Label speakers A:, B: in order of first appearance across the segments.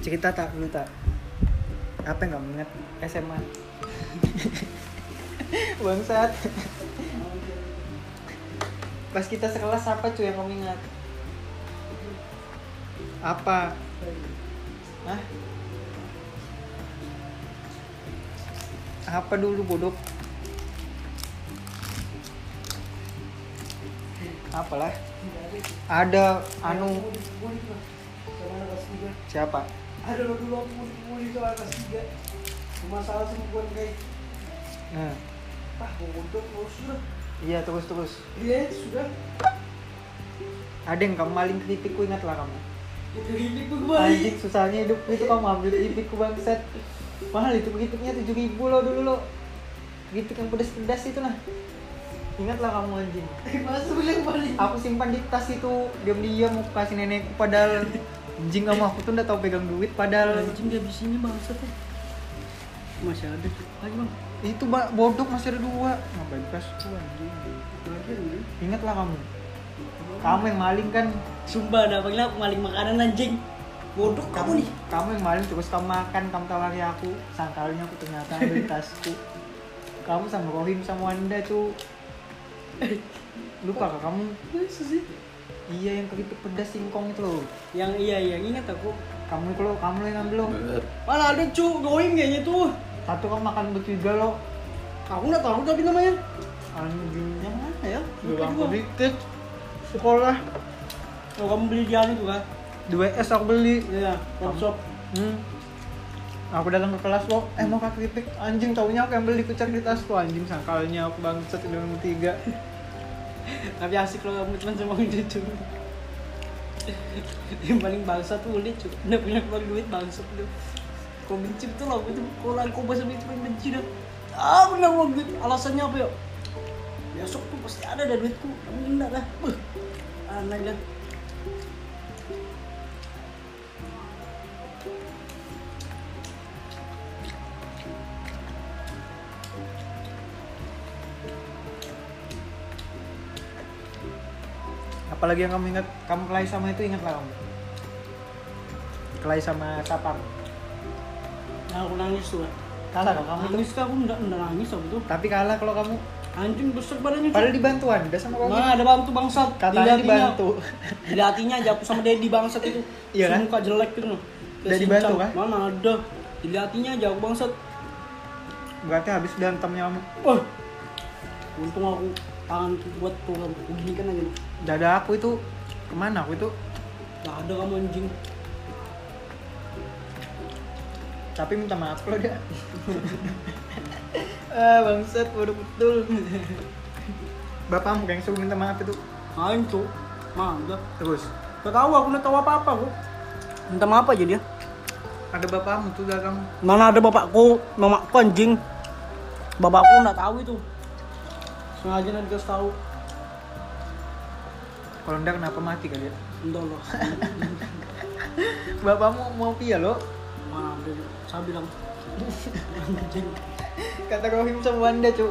A: cerita tak dulu tak apa nggak mengingat SMA bangsat pas kita sekelas apa cuy yang kamu ingat apa Hah? apa dulu bodoh apalah ada anu siapa
B: Ada lo dulu aku mudik mudik itu atas tiga. Cuma salah sama gue kayak
A: nah,
B: ah gue untuk lo sudah.
A: iya terus terus
B: Iya sudah.
A: ada yang kamu maling kritikku ingatlah kamu
B: Udah ini gue
A: anjing
B: kembali.
A: susahnya hidup itu kamu ambil kritikku bangset mahal itu kritiknya tujuh ribu lo dulu lo kritik yang pedas-pedas itu nah ingatlah kamu anjing
B: Masa boleh kembali.
A: aku simpan di tas itu diam-diam mau kasih nenekku padahal anjing kamu aku tuh nggak tahu pegang duit padahal
C: Anjing dia di sini bangsat ya. Masih ada. Ayo bang.
A: itu ba- bodok masih ada dua ngapain pas tuh anjing
C: Ada nih.
A: ingatlah kamu kamu yang maling kan
C: Sumpah dah panggil aku maling makanan anjing. Bodoh kamu nih.
A: kamu yang maling terus kamu makan kamu tawarin aku sangkalnya aku ternyata ada di tasku kamu sama Rohim sama Wanda tuh lupa kah kamu
C: Masa sih?
A: iya yang keripik pedas singkong itu loh
C: Yang iya iya ingat aku.
A: kamu kalau kamu lo yang ngambil lo
C: Malah ada cu goim kayaknya tuh.
A: satu kamu makan bertiga lo
C: Aku nggak tahu tapi namanya.
A: anjingnya
C: Yang mana ya?
A: Gue
C: Lupa
A: bangku
C: juga.
A: dikit sekolah
C: Oh, kamu beli di anu juga.
A: 2S aku beli
C: Iya, workshop.
A: hmm. aku datang ke kelas lo eh mau kak kritik anjing taunya aku yang beli kucar di tasku anjing sangkalnya aku bangsat dengan tiga
C: Tapi asik loh kamu cuma sama orang cucu. Yang paling bangsa tuh ulit cu. Nggak punya keluar duit bangsa tuh. Kau benci betul loh, aku tuh kalau aku bahasa benci paling benci dah. Ah, aku nggak mau duit. Alasannya apa ya? Besok tuh pasti ada dah duitku. Kamu enggak dah. Beuh. Aneh dah.
A: apalagi yang kamu ingat kamu kelai sama itu ingat lah kamu kelai sama sapam
C: Nah, aku nangis tuh. ya.
A: kalah kok kamu itu
C: Nangis tuh aku enggak, enggak nangis aku tuh.
A: tapi kalah kalau kamu
C: Anjing besar badannya. cu.
A: padahal dibantu anda sama kamu
C: Mana ada bantu bangsat.
A: katanya
C: Dilihatinnya.
A: dibantu
C: Di hatinya aja aku sama Dedi bangsat itu.
A: Iya
C: Si
A: kan?
C: Muka jelek itu.
A: Udah dibantu kan?
C: Mana ada. Di hatinya aja aku bangsat.
A: berarti habis dantemnya kamu
C: Wah. Untung aku tangan buat tuh kamu. Aku Gini kan aja.
A: dada aku itu kemana aku itu
C: Gak ada kamu anjing.
A: tapi minta maaf lo dia ah bangsat bodoh betul bapakmu yang suruh minta maaf itu
C: Hancur. Mana ada.
A: terus
C: Gak tahu aku gak tahu apa-apa kok. Minta maaf aja dia.
A: ada bapakmu tuh dalam
C: Mana ada bapakku, mamaku anjing. Bapakku gak tahu itu. Sengaja nanti kasih tahu.
A: kalau enggak kenapa mati kali ya
C: Entah loh.
A: bapakmu mau pia lo
C: Mana ada. Saya bilang. Anjing.
A: kata Rohim sama Wanda cu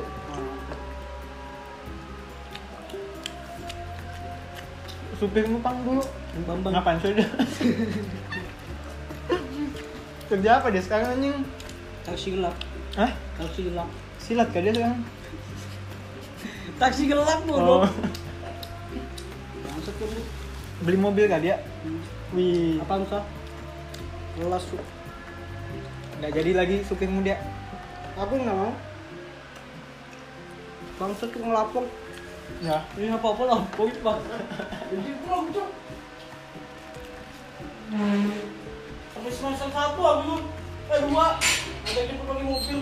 A: supirmu pang dulu
C: Bambang.
A: ngapain sudah kerja apa dia sekarang anjing
C: Taksi gelap.
A: Hah?
C: Taksi gelap.
A: silat kali dia sekarang
C: Taksi gelap
A: oh.
C: bodoh. Bangsat kamu.
A: beli mobil kali dia
C: Hmm.
A: wih
C: Apaan sah? Lelas tuh.
A: nggak jadi lagi supirmu dia
C: Aku nggak mau. Bangsat tuh ngelapor.
A: ya
C: Ini apa apa lah. Poin bang. Jadi pulang tuh. Sampai semester satu aku tuh. Eh dua. Ada yang pakai mobil.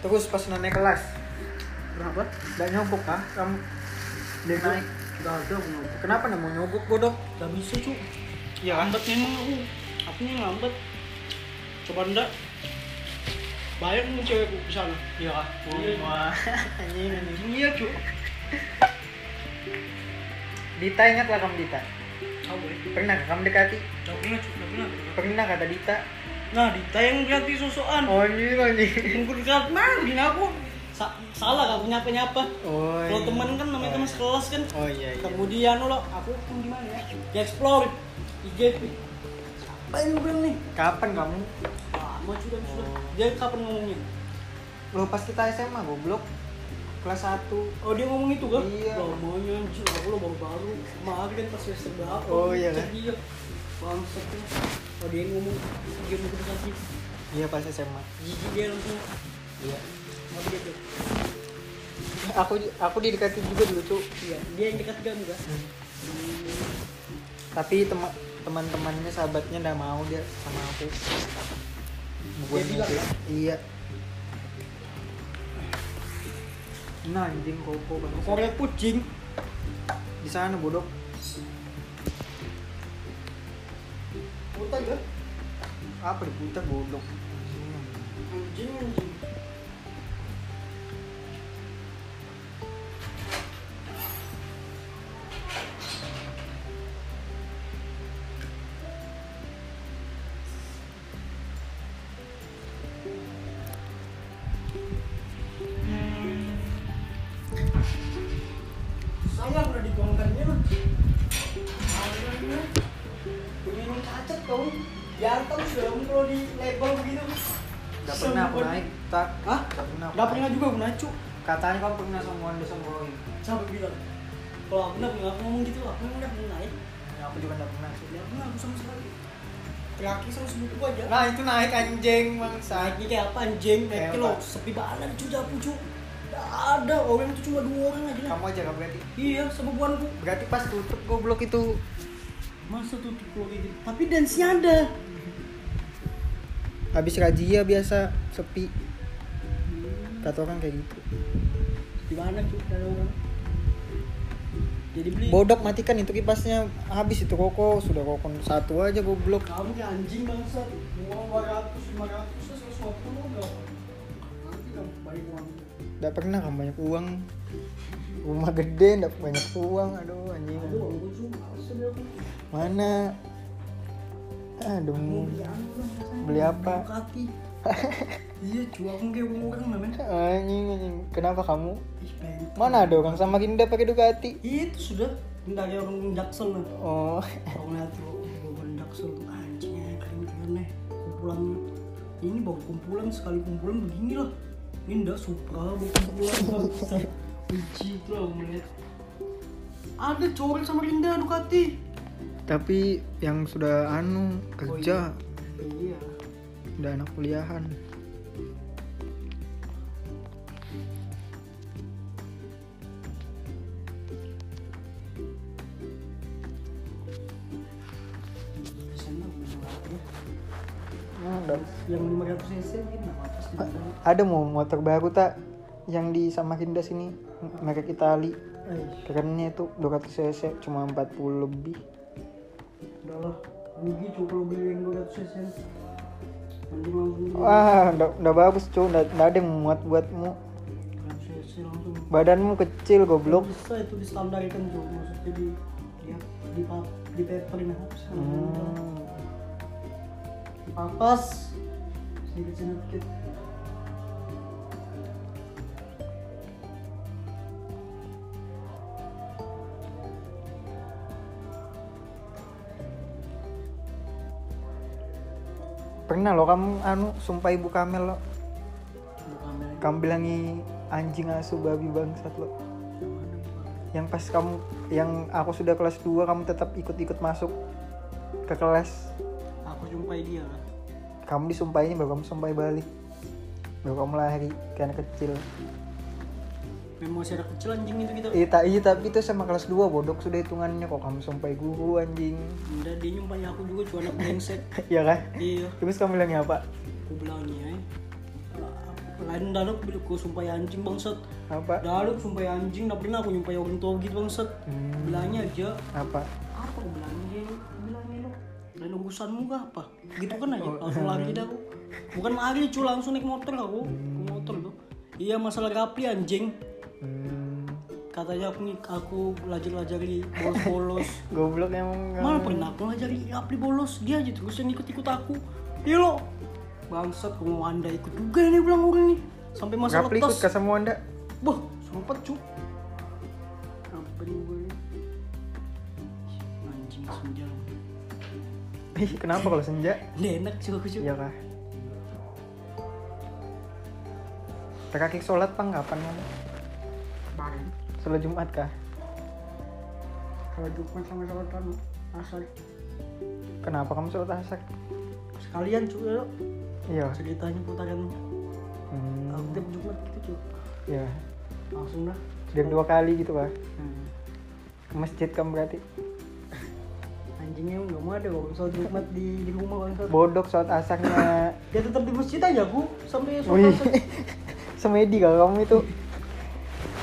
A: terus pas naik kelas
C: Berapa?
A: nggak nyogok kah kamu dia naik
C: Gak ada aku nggak.
A: kenapa nggak mau nyogok bodoh
C: Gak bisa cuy.
A: iya
C: Lambat memang aku. Aku yang lambat. Coba ndak. Bayar mau cewekku ke sana.
A: iya kah
C: Iya.
A: wah anjing anjing
C: Iya cuy.
A: Dita ingat lah kamu Dita
C: Tahu ya.
A: pernah nggak kamu dekati
C: Gak pernah cuy. Gak pernah.
A: pernah kata Dita
C: Nah, Dita yang ganti sosokan.
A: oh anjing anjing
C: Mungkin dekat mana aku? sa- salah gak punya apa-apa
A: Oh.
C: kalau
A: iya.
C: temen kan namanya teman sekelas kan
A: Oh iya iya.
C: kemudian lo aku pun gimana ya di explore IG apa yang lu bilang nih
A: Kapan kamu?
C: ah mau sudah sudah dia kapan ngomongnya
A: Lo pas kita SMA goblok. Kelas 1.
C: Oh dia ngomong itu kan?
A: Iya.
C: Lah maunya anjir aku lo baru-baru Kemarin kan pas semester berapa
A: Oh, iya kan?
C: Iya Bangsat tuh Oh dia ngomong Dia mau kita kasih
A: Iya pas SMA.
C: Gigi dia langsung
A: Iya.
C: Mau dia tuh
A: Aku aku didekati juga dulu tuh.
C: Iya dia yang dekat kamu kan?
A: Hmm. Tapi tema- teman-temannya sahabatnya nggak mau dia sama aku. Gua
C: Dia bilang,
A: mikir,
C: kan?
A: Iya. Nah, anjing koko banget.
C: Korea kucing
A: Di sana bodoh.
C: Hutan kan?
A: Apa di putar bodoh?
C: Anjing anjing Sayang udah dibongkarnya lah Sayangnya Punya yang cacat kau Biar tau sudah kamu kalau di label gitu. begitu
A: Gak pernah aku
C: Sombong.
A: naik, tak.
C: Hah?
A: Gak pernah. aku
C: Gak pernah
A: naik.
C: juga aku nacu
A: Katanya kamu pernah sombongan disombongin.
C: Sampai bilang Kalau aku gak pernah aku ngomong gitu Aku emang gak pernah naik
A: Ya, aku juga gak pernah sih.
C: Gak pernah aku sama sekali Laki sama sebuku aja
A: Nah, itu naik anjing, bangsa.
C: Naiknya kayak apa anjing Naiknya
A: Kayak
C: lo
A: apa?
C: sepi banget cu dapur cu Gak ada orang itu cuma dua orang aja lah
A: Kamu aja gak berarti.
C: Iya sama buanku
A: Berarti pas tutup goblok itu
C: Masa tutup kalau kayak gitu Tapi dance-nya ada
A: habis razia biasa sepi kata orang kayak gitu
C: Di mana cu ada orang Jadi beli
A: bodok matikan itu kipasnya habis itu koko sudah kokon satu aja goblok
C: Kamu kayak anjing bangsa Uang 200, 500, 150 lo berapa Nanti kamu balik uang
A: nggak pernah kan banyak uang rumah gede nggak banyak uang aduh anjing
C: Aduh, aku cuma males deh aku
A: mana aduh
C: Mau beli anu lah rasanya.
A: Beli apa?
C: Beli Kaki Iya, jual kayak orang namanya
A: anjing anjing kenapa kamu
C: Ih, benteng.
A: mana ada orang sama Ginda pakai Ducati
C: Itu sudah dari orang Jaksel lah
A: oh
C: Orang lihat tuh oh, orang Jaksel tuh anjingnya keren-keren nih Kumpulannya Ini baru kumpulan, sekali kumpulan begini lah Ini ndak supra, baru kumpulan bangsa. Benci itu lah melihat Ada coret sama Rinda Ducati
A: tapi yang sudah anu kerja
C: Iya
A: udah anak kuliahan
C: Pesannya murah ya
A: udah
C: Yang 500 cc mungkin nggak apa-apa sih
A: ada mau motor baru tak yang di sama Hinda sini merek Itali
C: Eh,
A: kerennya itu 200 cc cuma 40 lebih
C: udahlah rugi cuy kalau beli yang 200 cc mending langsung beli
A: wah udah, udah bagus cuy udah, udah ada yang muat buatmu
C: 200 cc langsung
A: badanmu kecil goblok
C: bisa itu distandarkan cuy maksudnya di ya di pa di paperin hapus
A: hmm.
C: papas sedikit sedikit
A: pernah lo kamu anu sumpah ibu kamel lo
C: bukan mereka
A: kamu bilangi anjing asu babi bangsat lo yang pas kamu yang aku sudah kelas 2 kamu tetap ikut-ikut masuk ke kelas
C: aku jumpai dia lah
A: kamu disumpahinya baru kamu sumpahi balik baru kamu lari karena kecil
C: memang masih ada kecil anjing itu kita
A: Iya, ta- iya, tapi itu sama kelas 2 bodok sudah hitungannya kok kamu sampai guru anjing.
C: udah dia nyumpahin aku juga cuy anak brengsek
A: Iya kan?
C: iya
A: Terus kamu bilangnya apa?
C: aku bilangnya eh, lain daluk bila aku sumpah ya anjing bangsat
A: Apa?
C: daluk sumpah ya anjing nggak pernah aku nyumpahin orang tua gitu bangsat
A: Hmm,
C: bilangnya aja
A: apa?
C: apa aku bilangnya dia bilangnya lo dan urusanmu gak apa gitu kan aja langsung lagi dah aku bukan lari cu langsung naik motor aku Ke motor tuh iya masalah rapli anjing
A: Hmm,
C: katanya aku ngik- aku belajar belajari bolos bolos
A: goblok emang. kamu.
C: mana pernah aku belajari rapli bolos dia aja terus yang ikut ikut aku iya lo bangsat aku mau anda ikut juga ini bilang orang ini sampai
A: nggak
C: masalah
A: pelikut
C: tas
A: ke semua anda
C: Wah, sempet cu Sampai gue Anjing senja lu
A: Ih, kenapa kalau senja
C: Nggak enak cu aku cu
A: iya kah terakhir sholat pang kapan kamu
B: Kemarin.
A: sholat jumat kah
B: Kalau Jumat sama sholat kan
C: ah,
B: asal
A: kenapa kamu sholat asar
C: Sekalian cu ya
A: iya
C: Ceritanya putaran Aku
A: hmm,
C: tiap Jumat gitu cu
A: iya
C: Langsung dah
A: dan dua kali gitu kah
C: Hmm.
A: ke masjid kamu berarti
C: Anjingnya nggak mau ada kalau sholat Jumat di, di rumah bang
A: bodok sholat asarnya
C: Dia tetap di masjid aja aku Sampai
A: Wih.
C: sholat asar.
A: semedi kah kamu itu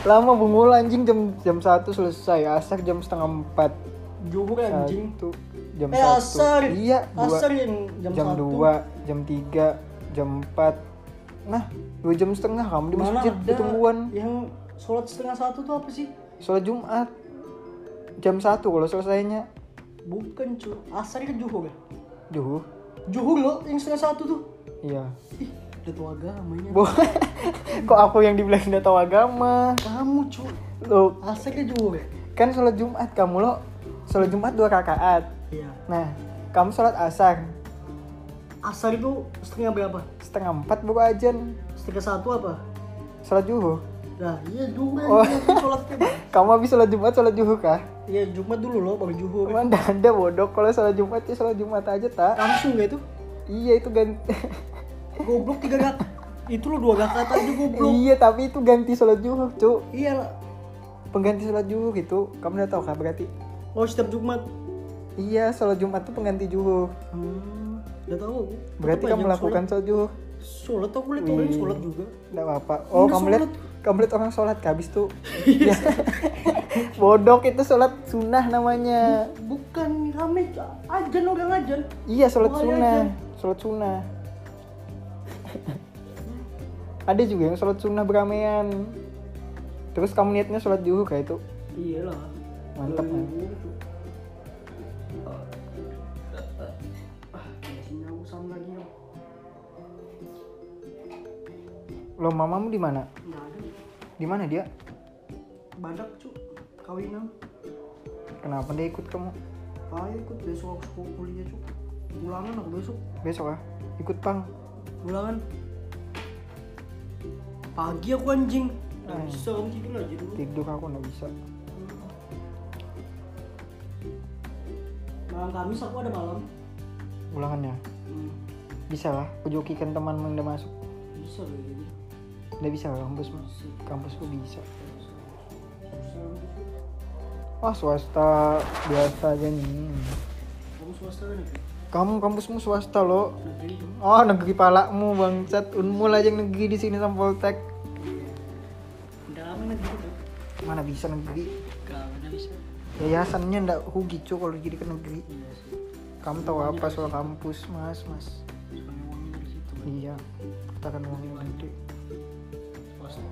A: lama bungul anjing jam jam satu selesai asar jam setengah empat
C: Juhur anjing
A: Satu, jam
C: Eh,
A: satu
C: asar.
A: iya dua
C: Asar yang
A: jam,
C: jam, satu.
A: dua jam tiga jam empat nah dua jam setengah kamu di
C: Mana
A: masjid
C: ada
A: di tungguan
C: Yang sholat setengah satu tuh apa sih?
A: sholat jumat jam satu kalau selesainya
C: Bukan cu, asar kan juhur ya?
A: juh
C: Juhur lo yang setengah satu tuh
A: iya
C: Ih, udah tua agamanya
A: Bo- kok aku yang dibilang nggak tahu agama
C: Kamu cu,
A: lo
C: asar kan juhur ya?
A: kan sholat jumat kamu lo sholat jumat dua rakaat
C: Iya
A: nah kamu sholat asar
C: Asar itu setengah berapa?
A: setengah empat baru ajan
C: Setengah satu apa?
A: sholat juhur
C: Nah iya juhur
A: Oh.
C: kan oh. sholat kan
A: kamu habis sholat jumat sholat juhur kah
C: Iya Jumat dulu lo baru juhur
A: Cuman anda bodoh kalau sholat jumat ya sholat jumat aja tak
C: Langsung gak itu?
A: iya itu ganti
C: Goblok tiga gak Itu lo dua gak kata aja goblok
A: iya tapi itu ganti sholat juhur cu
C: Iya lah
A: pengganti sholat juhur gitu kamu udah tahu kah berarti
C: Oh setiap Jumat
A: iya sholat jumat itu pengganti juhur
C: Hmm, udah tahu aku.
A: berarti
C: Tetep
A: kamu
C: aja
A: melakukan sholat juhur
C: Sholat, sholat aku lihat orang
A: Wih.
C: sholat juga
A: Enggak apa-apa. Oh,
C: Enggak
A: kamu lihat kamu lihat orang sholat kah habis tuh. Ya. Bodok itu sholat sunnah namanya.
C: Bukan rame ajan orang ajan
A: Iya, sholat
C: Boleh
A: sunnah.
C: aja.
A: Sholat sunnah. Ada juga yang sholat sunnah beramean. Terus kamu niatnya sholat juhur kayak itu.
C: Iya lah.
A: Mantap,
C: Kalau
A: man.
C: yang gitu. Ah, anjing, nausan lagi ya.
A: Lo mamamu di mana?
C: Nggak ada.
A: Di mana dia?
C: Nah, Badak cu, kawinan.
A: Kenapa dia ikut kamu?
C: Ayo ikut besok aku sekolah kuliah cu. Ulangan aku besok.
A: Besok ah. Ikut pang.
C: Ulangan. Pagi aku anjing. Nggak
A: Hmm.
C: bisa kamu tidur aja dulu.
A: Tidur aku nggak bisa.
C: Malam Kamis aku ada malam.
A: Ulangannya.
C: Hmm,
A: Bisa lah. Kujokikan temanmu yang udah masuk.
C: bisa loh ini.
A: Udah bisa lah kampusmu.
C: Bisa.
A: Kampusku bisa.
C: Susah, Bu.
A: Wah Ah, swasta biasa aja nih.
C: Kamu swasta kan negeri?
A: Kamu kampusmu swasta lo.
C: Negeri kamu.
A: Oh negeri palakmu bangsat unmul aja yang negeri di sini sama Poltek.
C: Udah lama negeri tuh.
A: Mana bisa negeri?
C: Gak mana bisa.
A: Yayasannya ndak rugi cu kalau jadi ke negeri.
C: Iya sih.
A: Kamu tahu apa soal kampus mas mas?
C: Sebenarnya uangnya dari situ. kan.
A: Iya. Kita kan uangnya gede.
C: Swasta.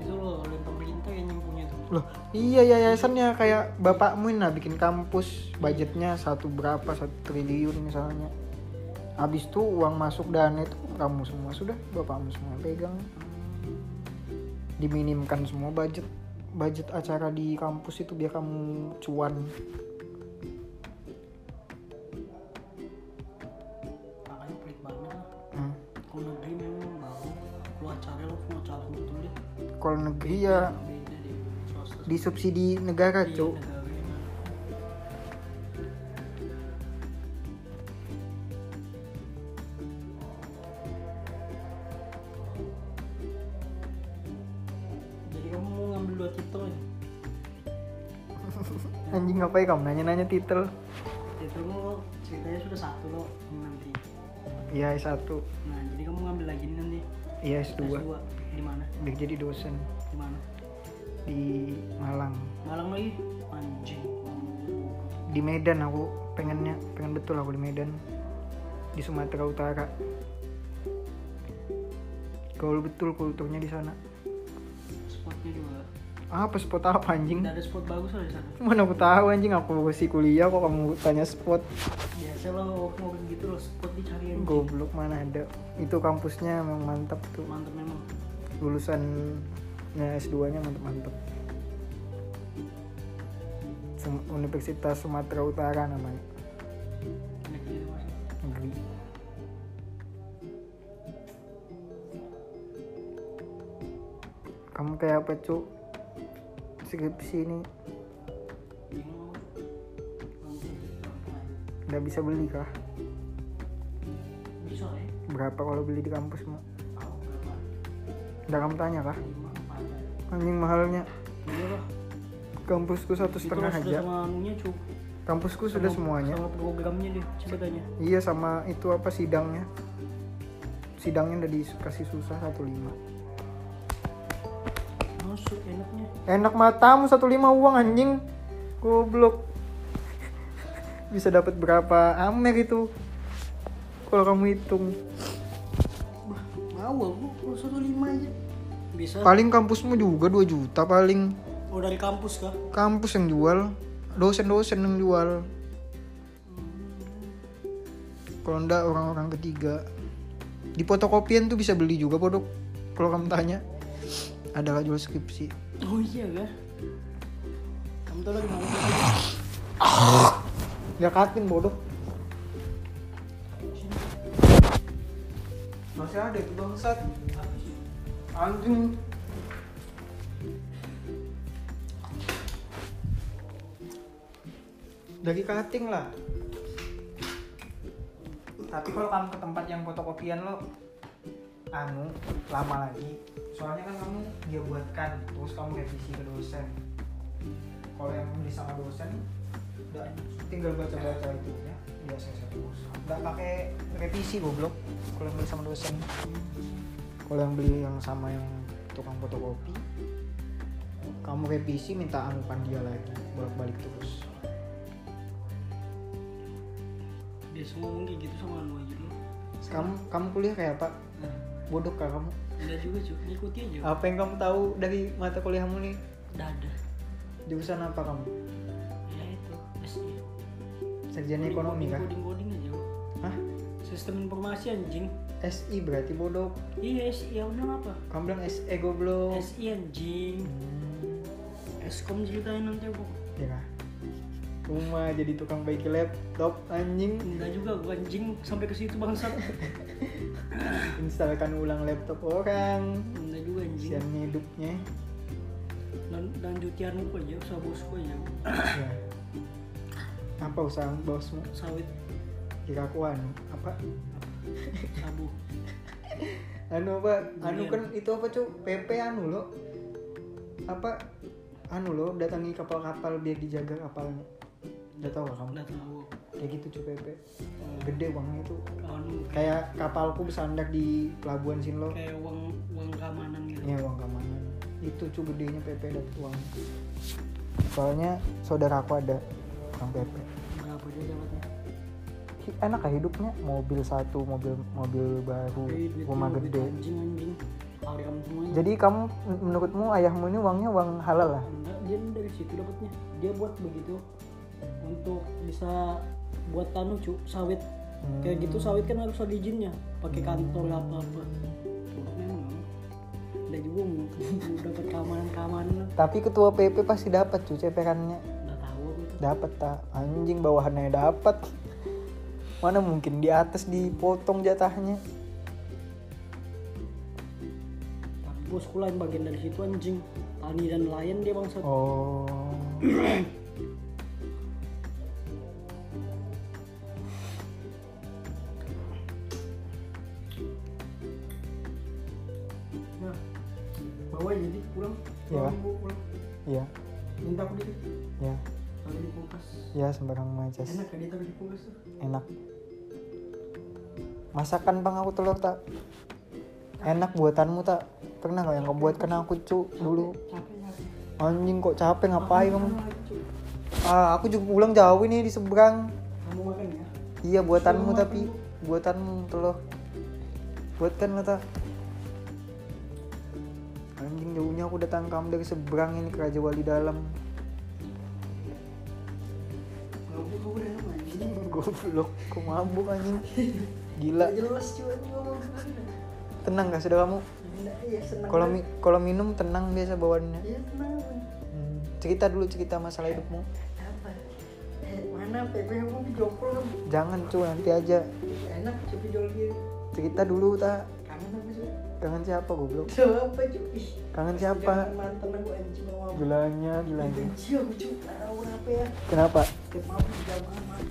C: Itu loh oleh pemerintah yang punya tuh.
A: Loh iya ya yayasannya kayak bapakmu nah bikin kampus budgetnya satu berapa satu triliun misalnya. Habis itu uang masuk dana itu kamu semua sudah bapakmu semua yang pegang. diminimkan semua budget budget acara di kampus itu biar kamu cuan
C: Makanya pelit banget lah.
A: Hmm.
C: Kalau negeri memang baru. Lu acara lu semua acara gitu ya.
A: kalau negeri ya
C: Beda deh. Swasta.
A: disubsidi negara
C: Iya,
A: cuk
C: negara memang. Jadi kamu mau ngambil dua titel ya?
A: anjing apa ya kamu nanya nanya titel
C: Titel lo ceritanya sudah satu lo nanti.
A: iya S1
C: Nah, jadi kamu ngambil lagi nih nanti.
A: iya S2
C: S2 di mana?
A: biar jadi dosen
C: Di mana?
A: di Malang
C: Malang lagi. Anjing.
A: di Medan aku pengennya pengen betul aku di Medan di Sumatera Utara kalau betul kulturnya di sana
C: Spotnya juga.
A: apa spot apa anjing
C: Nggak ada spot bagus loh di sana.
A: mana aku tahu anjing aku masih kuliah kok kamu tanya spot
C: Biasa lo ngomong gitu loh spot dicari yang
A: goblok mana ada itu kampusnya emang mantap tuh
C: mantep memang.
A: lulusannya S2 nya mantep-mantep Sem- Universitas Sumatera Utara namanya
C: Enak gitu Mas.
A: negeri kamu kayak apa cu skripsi ini
C: Bingung aku. Langsung langsung aja.
A: nggak bisa beli kah
C: Bisa ya.
A: berapa kalau beli di kampus mau
C: Tahu berapa?
A: nggak kamu tanya kah
C: Lima empat. eh.
A: anjing mahalnya
C: Iya lah.
A: kampusku satu
C: Itu
A: setengah
C: lah sudah
A: aja
C: sama anunya cu.
A: kampusku sudah
C: Sama-
A: semuanya
C: Sama programnya deh ceritanya.
A: Iya sama itu apa sidangnya Sidangnya udah dikasih susah 15
C: Masuk enaknya.
A: Enak matamu 15 uang anjing Goblok Bisa dapat berapa amer itu Kalau kamu hitung
C: Bah, mau aku kalau satu lima aja. Bisa.
A: Paling kampusmu juga 2 juta paling
C: Oh dari kampus kah?
A: Kampus yang jual Dosen-dosen yang jual Kalau ndak orang-orang ketiga Di fotokopian tuh bisa beli juga podok Kalau kamu tanya Adalah jual skripsi
C: Oh iya kah? Kamu tuh lagi mana?
A: Gak katin bodoh. Masih ada itu bangsat. Anjing. Dari cutting lah. Tapi kalau kamu ke tempat yang fotokopian lo anu lama lagi. Soalnya kan kamu dia buatkan terus kamu revisi ke dosen. Kalau yang nulis sama dosen Nggak, tinggal baca-baca itu ya biasa terus nggak pakai revisi goblok kalau yang beli sama dosen kalau yang beli yang sama yang tukang fotokopi kamu revisi minta anupan dia lagi bolak-balik terus
C: Biasa ngomong kayak gitu sama anu aja dulu.
A: kamu kamu kuliah kayak apa
C: Nah,
A: bodoh kah kamu
C: enggak juga cuy, ngikuti aja.
A: Iya. apa yang kamu tahu dari mata kuliahmu nih
C: Dada.
A: jurusan apa kamu
C: Ya itu. Pasti.
A: sarjana ekonomi kan? kah
C: Coding coding aja. Bro.
A: Hah?
C: Sistem informasi anjing.
A: SI berarti bodoh
C: Iya, SI ya udah apa?
A: kamu bilang SE goblok
C: SI anjing.
A: Hmm,
C: Eskom ceritain nanti aku.
A: ya kah? rumah jadi tukang baiki laptop anjing
C: Enggak juga gua anjing sampai ke situ bangsat.
A: instalkan ulang laptop orang
C: Enggak juga anjing.
A: sian hidupnya
C: Dan dan jutian aku aja, usaha bosku aja.
A: ya. apa usaha bosmu
C: Sawit
A: kira aku anu apa
C: sabu.
A: anu apa anu
C: Durian.
A: kan itu apa cu PP anu lo apa anu lo datangi kapal-kapal biar dijaga kapalnya udah tau gak kamu
C: Enggak tahu.
A: kayak gitu cu PP gede uangnya itu
C: Anu
A: kayak kapalku bersandar di pelabuhan Sinlo
C: kayak uang uang keamanan gitu.
A: Ya uang keamanan. Itu cu gedenya PP dapat uang. Soalnya saudara aku ada orang PP.
C: Berapa dia dapatnya?
A: Hi- Enak lah hidupnya, mobil satu, mobil mobil baru,
C: Eh, duitnya
A: rumah
C: lebih
A: gede.
C: Anjing anjing. Haram semuanya.
A: Jadi kamu men- menurutmu ayahmu ini uangnya uang halal ya? lah?
C: Enggak, dia dari situ dapatnya. Dia buat begitu untuk bisa buat tanu cu sawit. Kayak
A: Hmm.
C: gitu sawit kan harus ada izinnya, pakai kantor apa apa. Memang ada juga mau mau dapat keamanan keamanan.
A: Tapi ketua PP pasti dapat cu cepekannya.
C: Enggak tahu aku itu.
A: kan Dapat tak? Anjing bawahannya dapat. Mana mungkin di atas dipotong jatahnya.
C: Tapi bosku lain bagian dari situ anjing. Tani dan nelayan dia bangsa.
A: Oh.
C: Nah, bawa jadi pulang.
A: Iya.
C: Pulang, Bu, pulang.
A: Iya,
C: Minta aku dikit.
A: iya,
C: Taruh di kulkas.
A: iya sembarang macas.
C: Enak kan dia taruh di kulkas tuh.
A: enak masakan bang aku telur tak enak buatanmu tak pernah nggak yang kau buat kena aku cu dulu
C: Capek capek.
A: anjing kok capek ngapain kamu
C: Makan lagi, Cuk.
A: ah aku juga pulang jauh ini di seberang
C: Kamu makan ya.
A: iya buatanmu tapi buatanmu telur buatkan lah tak anjing jauhnya aku datang kamu dari seberang ini ke Raja Wali Dalam
C: Mabuk gue udah lama anjing.
A: goblok aku mabuk anjing
C: Gak
A: gila
C: jelas cuy gue mau gimana.
A: tenang gak sudah kamu
C: Enggak, ya seneng.
A: kalau
C: banget.
A: mi- kalau minum tenang biasa
B: Iya.
A: bawaannya
C: Ya seneng. banget.
A: Hmm, cerita dulu cerita masalah hidupmu
C: Apa? Eh, Mana PP mau video call kan?
A: jangan cuy nanti aja
C: Enak cuy video gini.
A: cerita dulu tak
C: Kangen apa cuy?
A: kangen siapa goblok
C: Tuh apa cuy?
A: kangen siapa
C: Mantan aku anjing mau mabuk.
A: gilanya gilanya
C: Benci aku cuy. Gak tahu kenapa ya.
A: kenapa
C: Tiap mabuk udah banget mantan.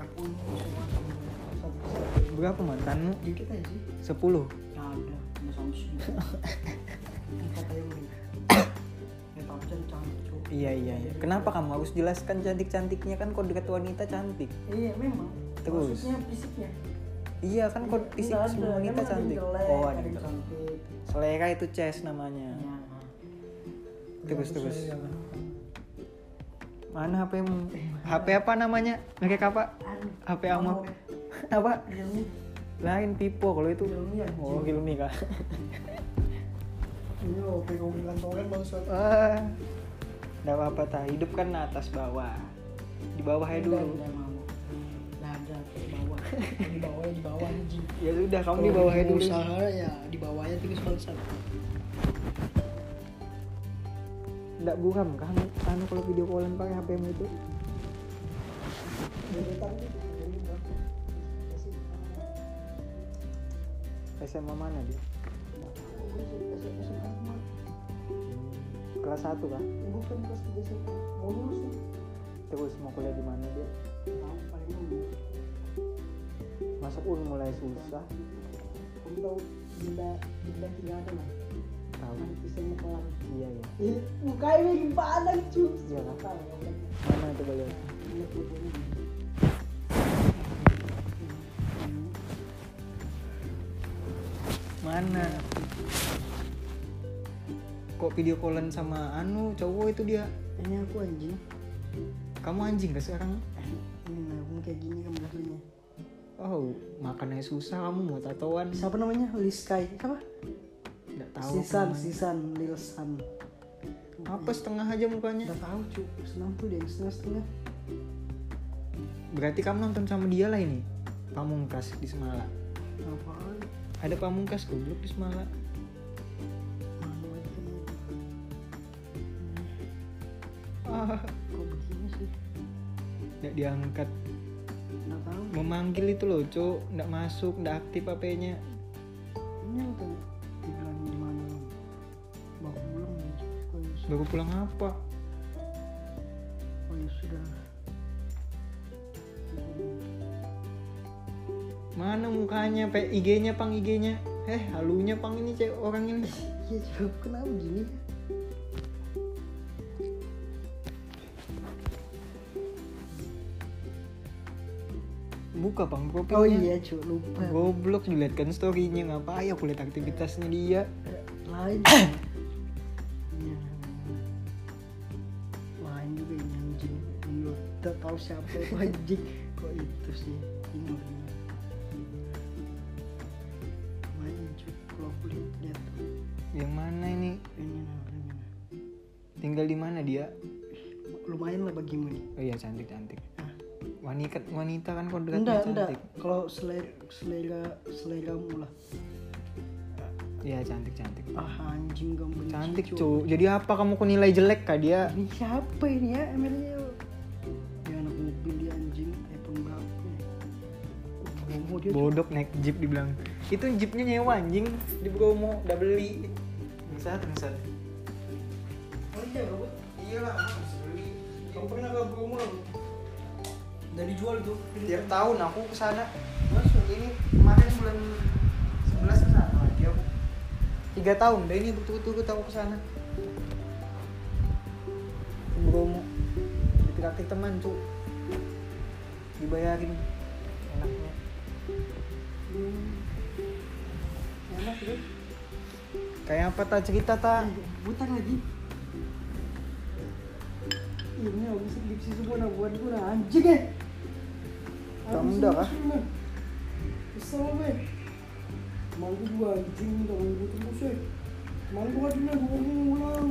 C: Aku ini semua temen. Satu-satu.
A: berapa mantanmu
C: Dikit aja sih.
A: 10
C: Ya udah, sama Samsung. Empat aja beli. Ya Samsung cantik cuy.
A: iya iya iya kenapa kamu harus jelaskan cantik cantiknya kan kau dekat wanita cantik
C: Iya memang.
A: Terus?
C: Maksudnya fisiknya.
A: iya kan kau fisik
C: Nggak ada,
A: semua wanita
C: emang ada yang
A: cantik
C: jelek,
A: oh ada
C: ada yang
A: yang jelek.
C: cantik.
A: selera itu chess namanya
C: Ya. Iya,
A: Terus,
C: Bagus
A: terus.
C: aja lah.
A: mana HPmu HP apa namanya mereka apa
C: Anu,
A: HP ama
C: Mau.
A: apa
C: Realme.
A: lain Vivo kalau itu
C: Realme anjing.
A: oh Realme kak
B: Ini
C: Eh,
B: loh, pegang di kantoran baru suatu.
A: Wah, Eh, nggak apa-apa ta hidup kan atas bawah di bawahnya
C: Udah,
A: dulu
C: udah, mabuk. Nah, ada di bawah. Di bawah, di bawah anjing.
A: ya sudah kamu di
C: Kalau
A: bawahnya
C: mau
A: dulu
C: Usaha ya di bawahnya tikus bangsat.
A: nggak buram kamu kamu anu kalau video callan pakai HPmu itu SMA mana dia kelas 1 kan
C: Bukan kelas tiga SMA. Mau lulus ya? nih.
A: terus mau kuliah di mana dia
C: Tahu, paling lulus.
A: masuk un mulai susah
C: Kamu tahu benda benda tiga ada nggak?
A: tahu
C: Nah, pisangnya kelam.
A: iya ya
C: Ih, mukanya gimana cuy?
A: Iya, Kak.
C: Tahu, kan?
A: mana itu boleh
C: Ini fotonya.
A: mana kok video callan sama anu cowok itu dia
C: Ini aku anjing.
A: kamu anjing gak sekarang
C: Ini nah, kamu kayak gini kamu aslinya.
A: oh makannya susah kamu mau tatoan
C: Siapa namanya? Liskai. Siapa?
A: nggak tahu
C: Sisan,
A: aku namanya.
C: Sisan, Lilsan.
A: apa setengah aja mukanya
C: Udah tahu cuy, senang tuh dia setengah setengah.
A: berarti kamu nonton sama dia lah ini pamungkas di semala
C: Apaan?
A: ada pamungkas goblok di semala
C: Malu aja kan aku.
A: ah
C: Kok begini sih?
A: nggak diangkat
C: Nggak tahu.
A: memanggil itu loh cok nggak masuk nggak aktif hpnya
C: Ini apa tuh? Dibilang di mana? Baru pulang ya. Oh ya, su-
A: baru pulang apa
C: oh ya sudah.
A: mana mukanya pe IG-nya pang IG-nya eh halunya pang ini cewek orang ini
C: Iya cuy, kenapa ya? begini?
A: buka pang profilnya
C: Oh iya cuy, lupa.
A: goblok dilihat kan story-nya ngapain aku lihat aktivitasnya dia
C: Lain. Iya. Lain juga ini anjing. Ini Tidak tahu siapa itu anjing. Kok itu sih? Ini orangnya. Lain cuy, kalau aku lihat lihat.
A: yang mana ini
C: Ini nah, orangnya.
A: tinggal di mana dia
C: Lumayan lah bagimu nih.
A: oh iya cantik cantik
C: Ah.
A: wanita wanita kan kau
C: Enggak,
A: dekatnya
C: enggak.
A: cantik
C: Kalau selera selera seleramu lah.
A: iya cantik cantik
C: Ah anjing gak benci,
A: cantik
C: cuy.
A: cuk jadi apa kamu kok nilai jelek kah dia
C: Ini siapa ini ya Emeril? Dia anak mobil dia anjing iPhone berapa ya? Homo dia tuh.
A: bodok naik jeep dibilang itu jeepnya nyewa anjing di Bromo udah beli bisa terusan
B: Oh iya, Bro.
A: iya lah harus beli
B: Kamu pernah ke Bromo lah, Bro? Udah dijual tuh.
A: tiap tahun aku kesana terus ini kemarin bulan 11 kesana lagi aku tiga tahun deh ini berturut-turut aku kesana Ke Bromo dirakit teman tuh dibayarin enaknya
C: Hmm. Enak tuh.
A: kayak apa tak cerita tak
C: Eh, Butar lagi. Ini habis skripsi semua nak buat gua nak anjing eh.
A: Tak
C: Habis
A: mudah, ah.
C: skripsi, man. Kesel weh. Mangku dua anjing dah mangku tembus eh.
B: Kemarin gua dulu gua ngomong ulang.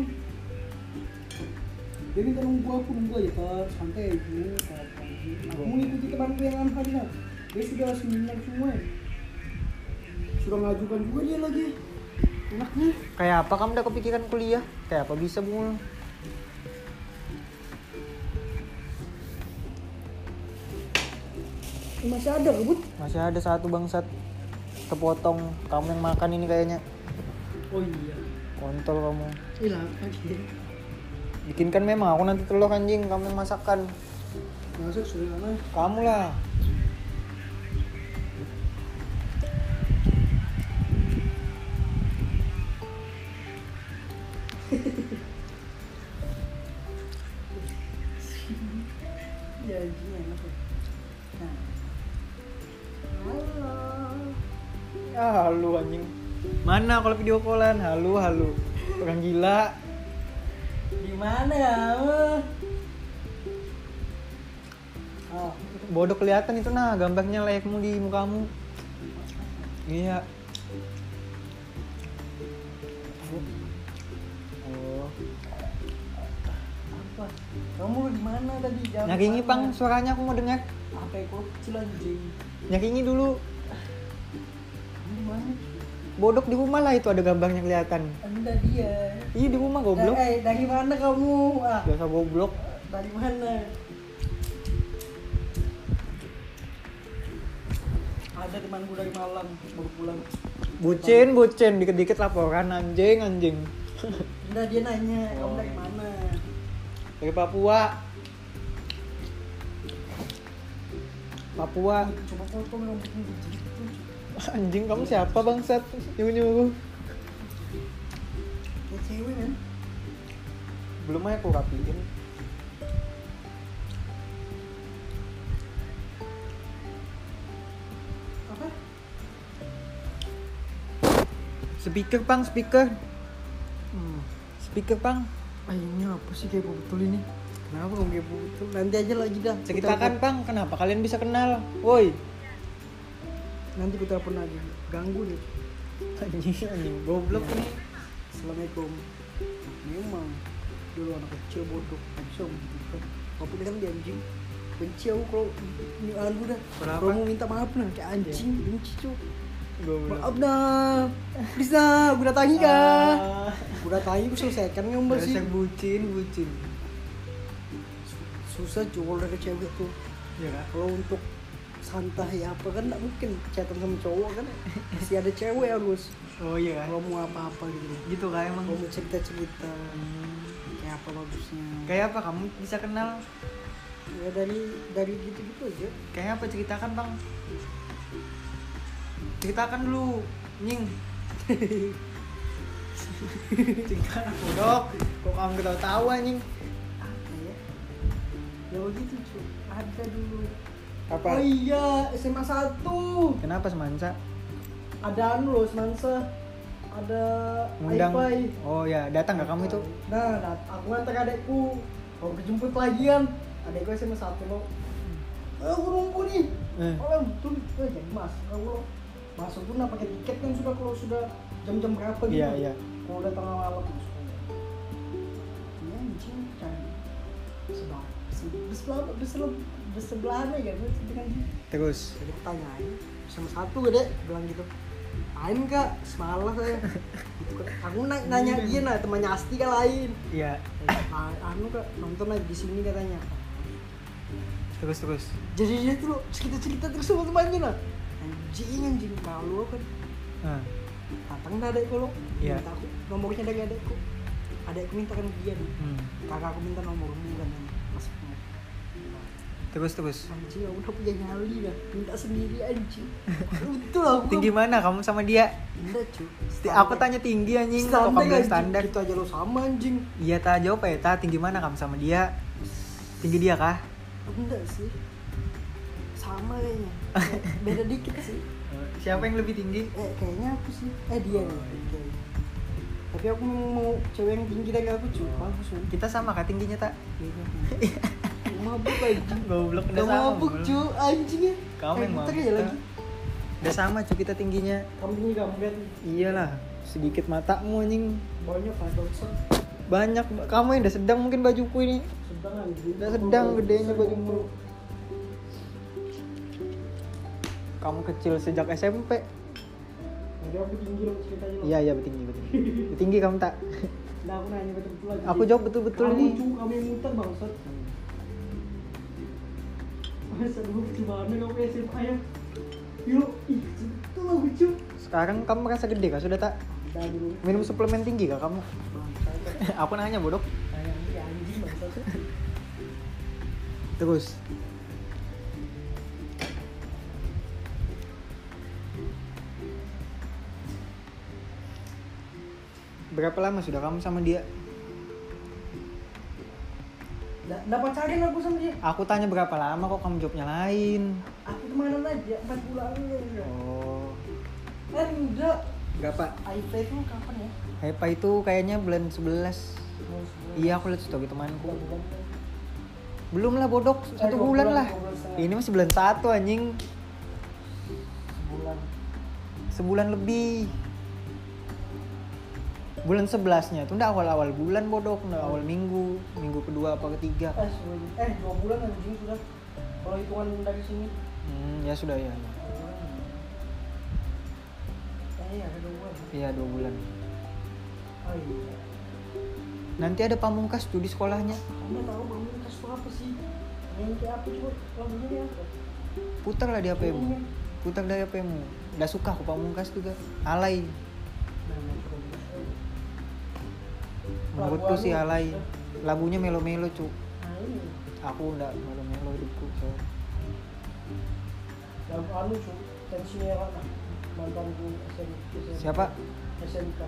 B: Dia minta nunggu aku nunggu aja kan santai gitu. kan. Aku mengikuti temanku yang lain tadi kan. Dia sudah seminar semua. ya. Sudah ngajukan juga dia lagi. Enaknya.
A: Kayak apa kamu udah kepikiran kuliah? Kayak apa bisa bunga?
B: Eh, masih ada rebut.
A: Masih ada satu bangsat kepotong kamu yang makan ini kayaknya.
C: oh iya kan
A: Kontol kamu.
C: hilang lagi
A: Bikinkan memang aku nanti telur anjing kamu yang masakan.
B: Masuk sudah lah.
A: Kamu lah.
C: ya anjing enak ya nah
A: Ya halu anjing. Mana kalau video callan? Halu halu. Orang gila.
C: di mana ya oh
A: Bodoh kelihatan itu nah gambarnya layakmu di mukamu. Iya. Oh.
C: apa kamu di mana tadi jam
A: Nyakingi
C: berapa?
A: pang suaranya aku mau dengar.
C: apa yang kecil anjing
A: Nyakingi dulu.
C: kamu di mana
A: Bodok di rumah lah itu ada gambarnya kelihatan.
C: anda dia
A: Iya di rumah
C: Goblok.
A: goblok.
C: Eh, dari mana kamu? Ah,
A: Biasa goblok.
C: dari mana? Ada temanku dari Malang baru pulang.
A: Bucin, bucin, dikit-dikit laporan anjing, anjing.
C: Enggak dia nanya, kamu dari mana?
A: Dari Papua. Papua.
C: Coba potong rambutmu begitu.
A: Anjing kamu siapa bangsat? Nyuruh-nyuruh.
C: Ya cewek kan?
A: Belum aja aku rapiin.
C: Apa?
A: Speaker pang, speaker. Hmm. Speaker pang.
C: Ayamnya Eh, apa sih kayak betul ini?
A: Kenapa kamu kayak begitu?
C: Nanti aja lagi dah.
A: Ceritakan pang, kenapa kalian bisa kenal? Woi.
C: Nanti ku telepon lagi. Ganggu deh.
A: Anjing, anjing goblok ini.
C: Assalamualaikum. Memang dulu anak kecil bodoh, kacau gitu kan. Walaupun dia kan dia anjing, benci aku kalau ini anu dah.
A: Kenapa?
C: Kalau mau minta maaf nah, kayak anjing, benci cuy.
A: Goblok.
C: Maaf dah, please dah, gue datangi kah?
A: Ah.
C: Gue datangi, gue selesaikan ngombel sih.
A: Dasar bucin, bucin.
C: Susah jual dari cewek tuh.
A: Ya kan?
C: Kalau untuk santai apa kan nggak mungkin chatan sama cowok kan masih ada cewek harus
A: Oh iya kan?
C: kalau mau apa-apa gitu
A: Gitu kan emang.
C: kalau mau cerita-cerita kayak apa bagusnya
A: Kayak apa kamu bisa kenal?
C: Ya dari dari gitu-gitu aja.
A: Kayak apa ceritakan bang? Ceritakan dulu, nying. ceritakan aku dok. Kok kamu ketawa tawa nying?
C: Apa ya? Ya begitu cuy. Ada dulu.
A: Apa?
C: Oh iya SMA 1
A: Kenapa semansa?
C: Ada anu loh semansa. Ada
A: Ngundang?
C: Aipai.
A: Oh ya, datang nggak kamu itu?
C: Nah, nah, aku nganter adekku. Kalau kejemput lagian. Adekku SMA 1 loh.
A: Hmm.
C: Eh, aku nunggu nih.
A: Eh.
C: Oh, betul. Eh, jadi mas. Kalau masuk tuh nah pakai tiket kan sudah kalau sudah jam-jam berapa gitu.
A: Iya iya.
C: kalau udah tengah malam masuk ya anjing kan sebelah sebelah sebelah bersebelahan ya gue dengan dia
A: Terus.
C: jadi aku tanyain sama satu gede aku bilang gitu main gak semalas saya gitu kan. aku na- nanya dia nah temannya Asti kan lain
A: Iya.
C: Ah, anu kak nonton aja di sini katanya
A: Terus terus.
C: jadi dia tuh cerita cerita terus sama temannya nah anjing anjing malu aku kan
A: Nah,
C: datang dah adekku lo
A: Iya.
C: minta aku nomornya dari adekku adekku minta kan dia nih
A: hmm.
C: kakak aku minta nomormu kan mas
A: Terus terus.
C: anjing aku udah punya nyali dah minta sendiri anjing betul aku
A: Tinggi mana kamu sama dia?
C: enggak cuy
A: Ti- Aku tanya tinggi anjing, kok kamu bilang standar?
C: kita aja lo sama anjing
A: Iya ta jawab ya ta tinggi mana kamu sama dia? Tinggi dia kah?
C: enggak sih sama kayaknya beda dikit sih
A: Eh, Siapa yang lebih tinggi?
C: eh kayaknya aku sih eh dia nih kayaknya. tapi aku memang mau cewek yang tinggi dari aku cuy bagus cuy
A: Kita sama kah tingginya tak?
C: kayaknya Aku mabuk anjing
A: Goblok
C: udah
A: Bul.
C: mabuk cuy anjing ya
A: Kamu
C: Kayak
A: yang
C: puter
A: mabuk.
C: ya lagi
A: Udah sama cu kita tingginya.
C: kamu tinggi kamu lihat
A: Iyalah. sedikit matamu anjing
B: banyak kan bangsat
A: banyak kamu yang udah sedang mungkin bajuku ini
B: sedang anjing
A: udah sedang gedenya
B: baju
A: bajumu kamu kecil sejak SMP
B: jadi aku tinggi loh ceritanya nah. loh.
A: iya iya betinggi betinggi betinggi kamu tak
B: nah aku nanya betul betul aja
A: aku jawab betul betul
B: kamu
A: ini
B: cu kamu yang muter bangsat masa dulu gimana kamu ke SMA ya yuk ih itu lagu cu
A: sekarang kamu merasa gede kah sudah tak
B: dah dulu
A: minum suplemen tinggi kah kamu
B: bangsat
A: aku nanya bodoh
B: kayak anjing bangsat
A: terus berapa lama sudah kamu sama dia
B: Nggak- nggak pacarin aku sama dia
A: aku tanya berapa lama kok kamu jawabnya lain
B: aku kemana aja empat bulan aja
A: oh
B: kan
C: Eh,
B: enggak
A: berapa
B: IP itu kapan ya
A: Hepa itu kayaknya bulan 11
B: Mau sebulan.
A: iya aku lihat story temanku
B: Dua bulan.
A: belum lah bodok satu
B: Eh, dua
A: bulan
B: bulan,
A: lah
B: dua bulan setengah.
A: ini masih bulan satu anjing
B: sebulan
A: sebulan lebih bulan sebelasnya tuh ndak awal awal bulan bodoh ndak awal minggu minggu kedua apa ketiga
B: eh sebulan eh dua bulan anjing sudah kalau hitungan dari sini
A: hmm, ya sudah ya
B: eh iya, ada dua bulan
A: iya dua bulan
B: oh iya
A: nanti ada pamungkas tuh di sekolahnya
B: anda tahu bangun kas itu apa sih main kayak apa coba lagunya ini apa
A: putar lah di HPmu putar dari HPmu nggak suka aku pamungkas juga alay
B: Nah, nah, coba dulu.
A: menurutku sih alay lagunya melo melo cu
B: nah ini
A: aku ndak melo melo hidupku so.
B: lagu anu cu tensinya mana mantanku SMK
A: siapa
B: SMK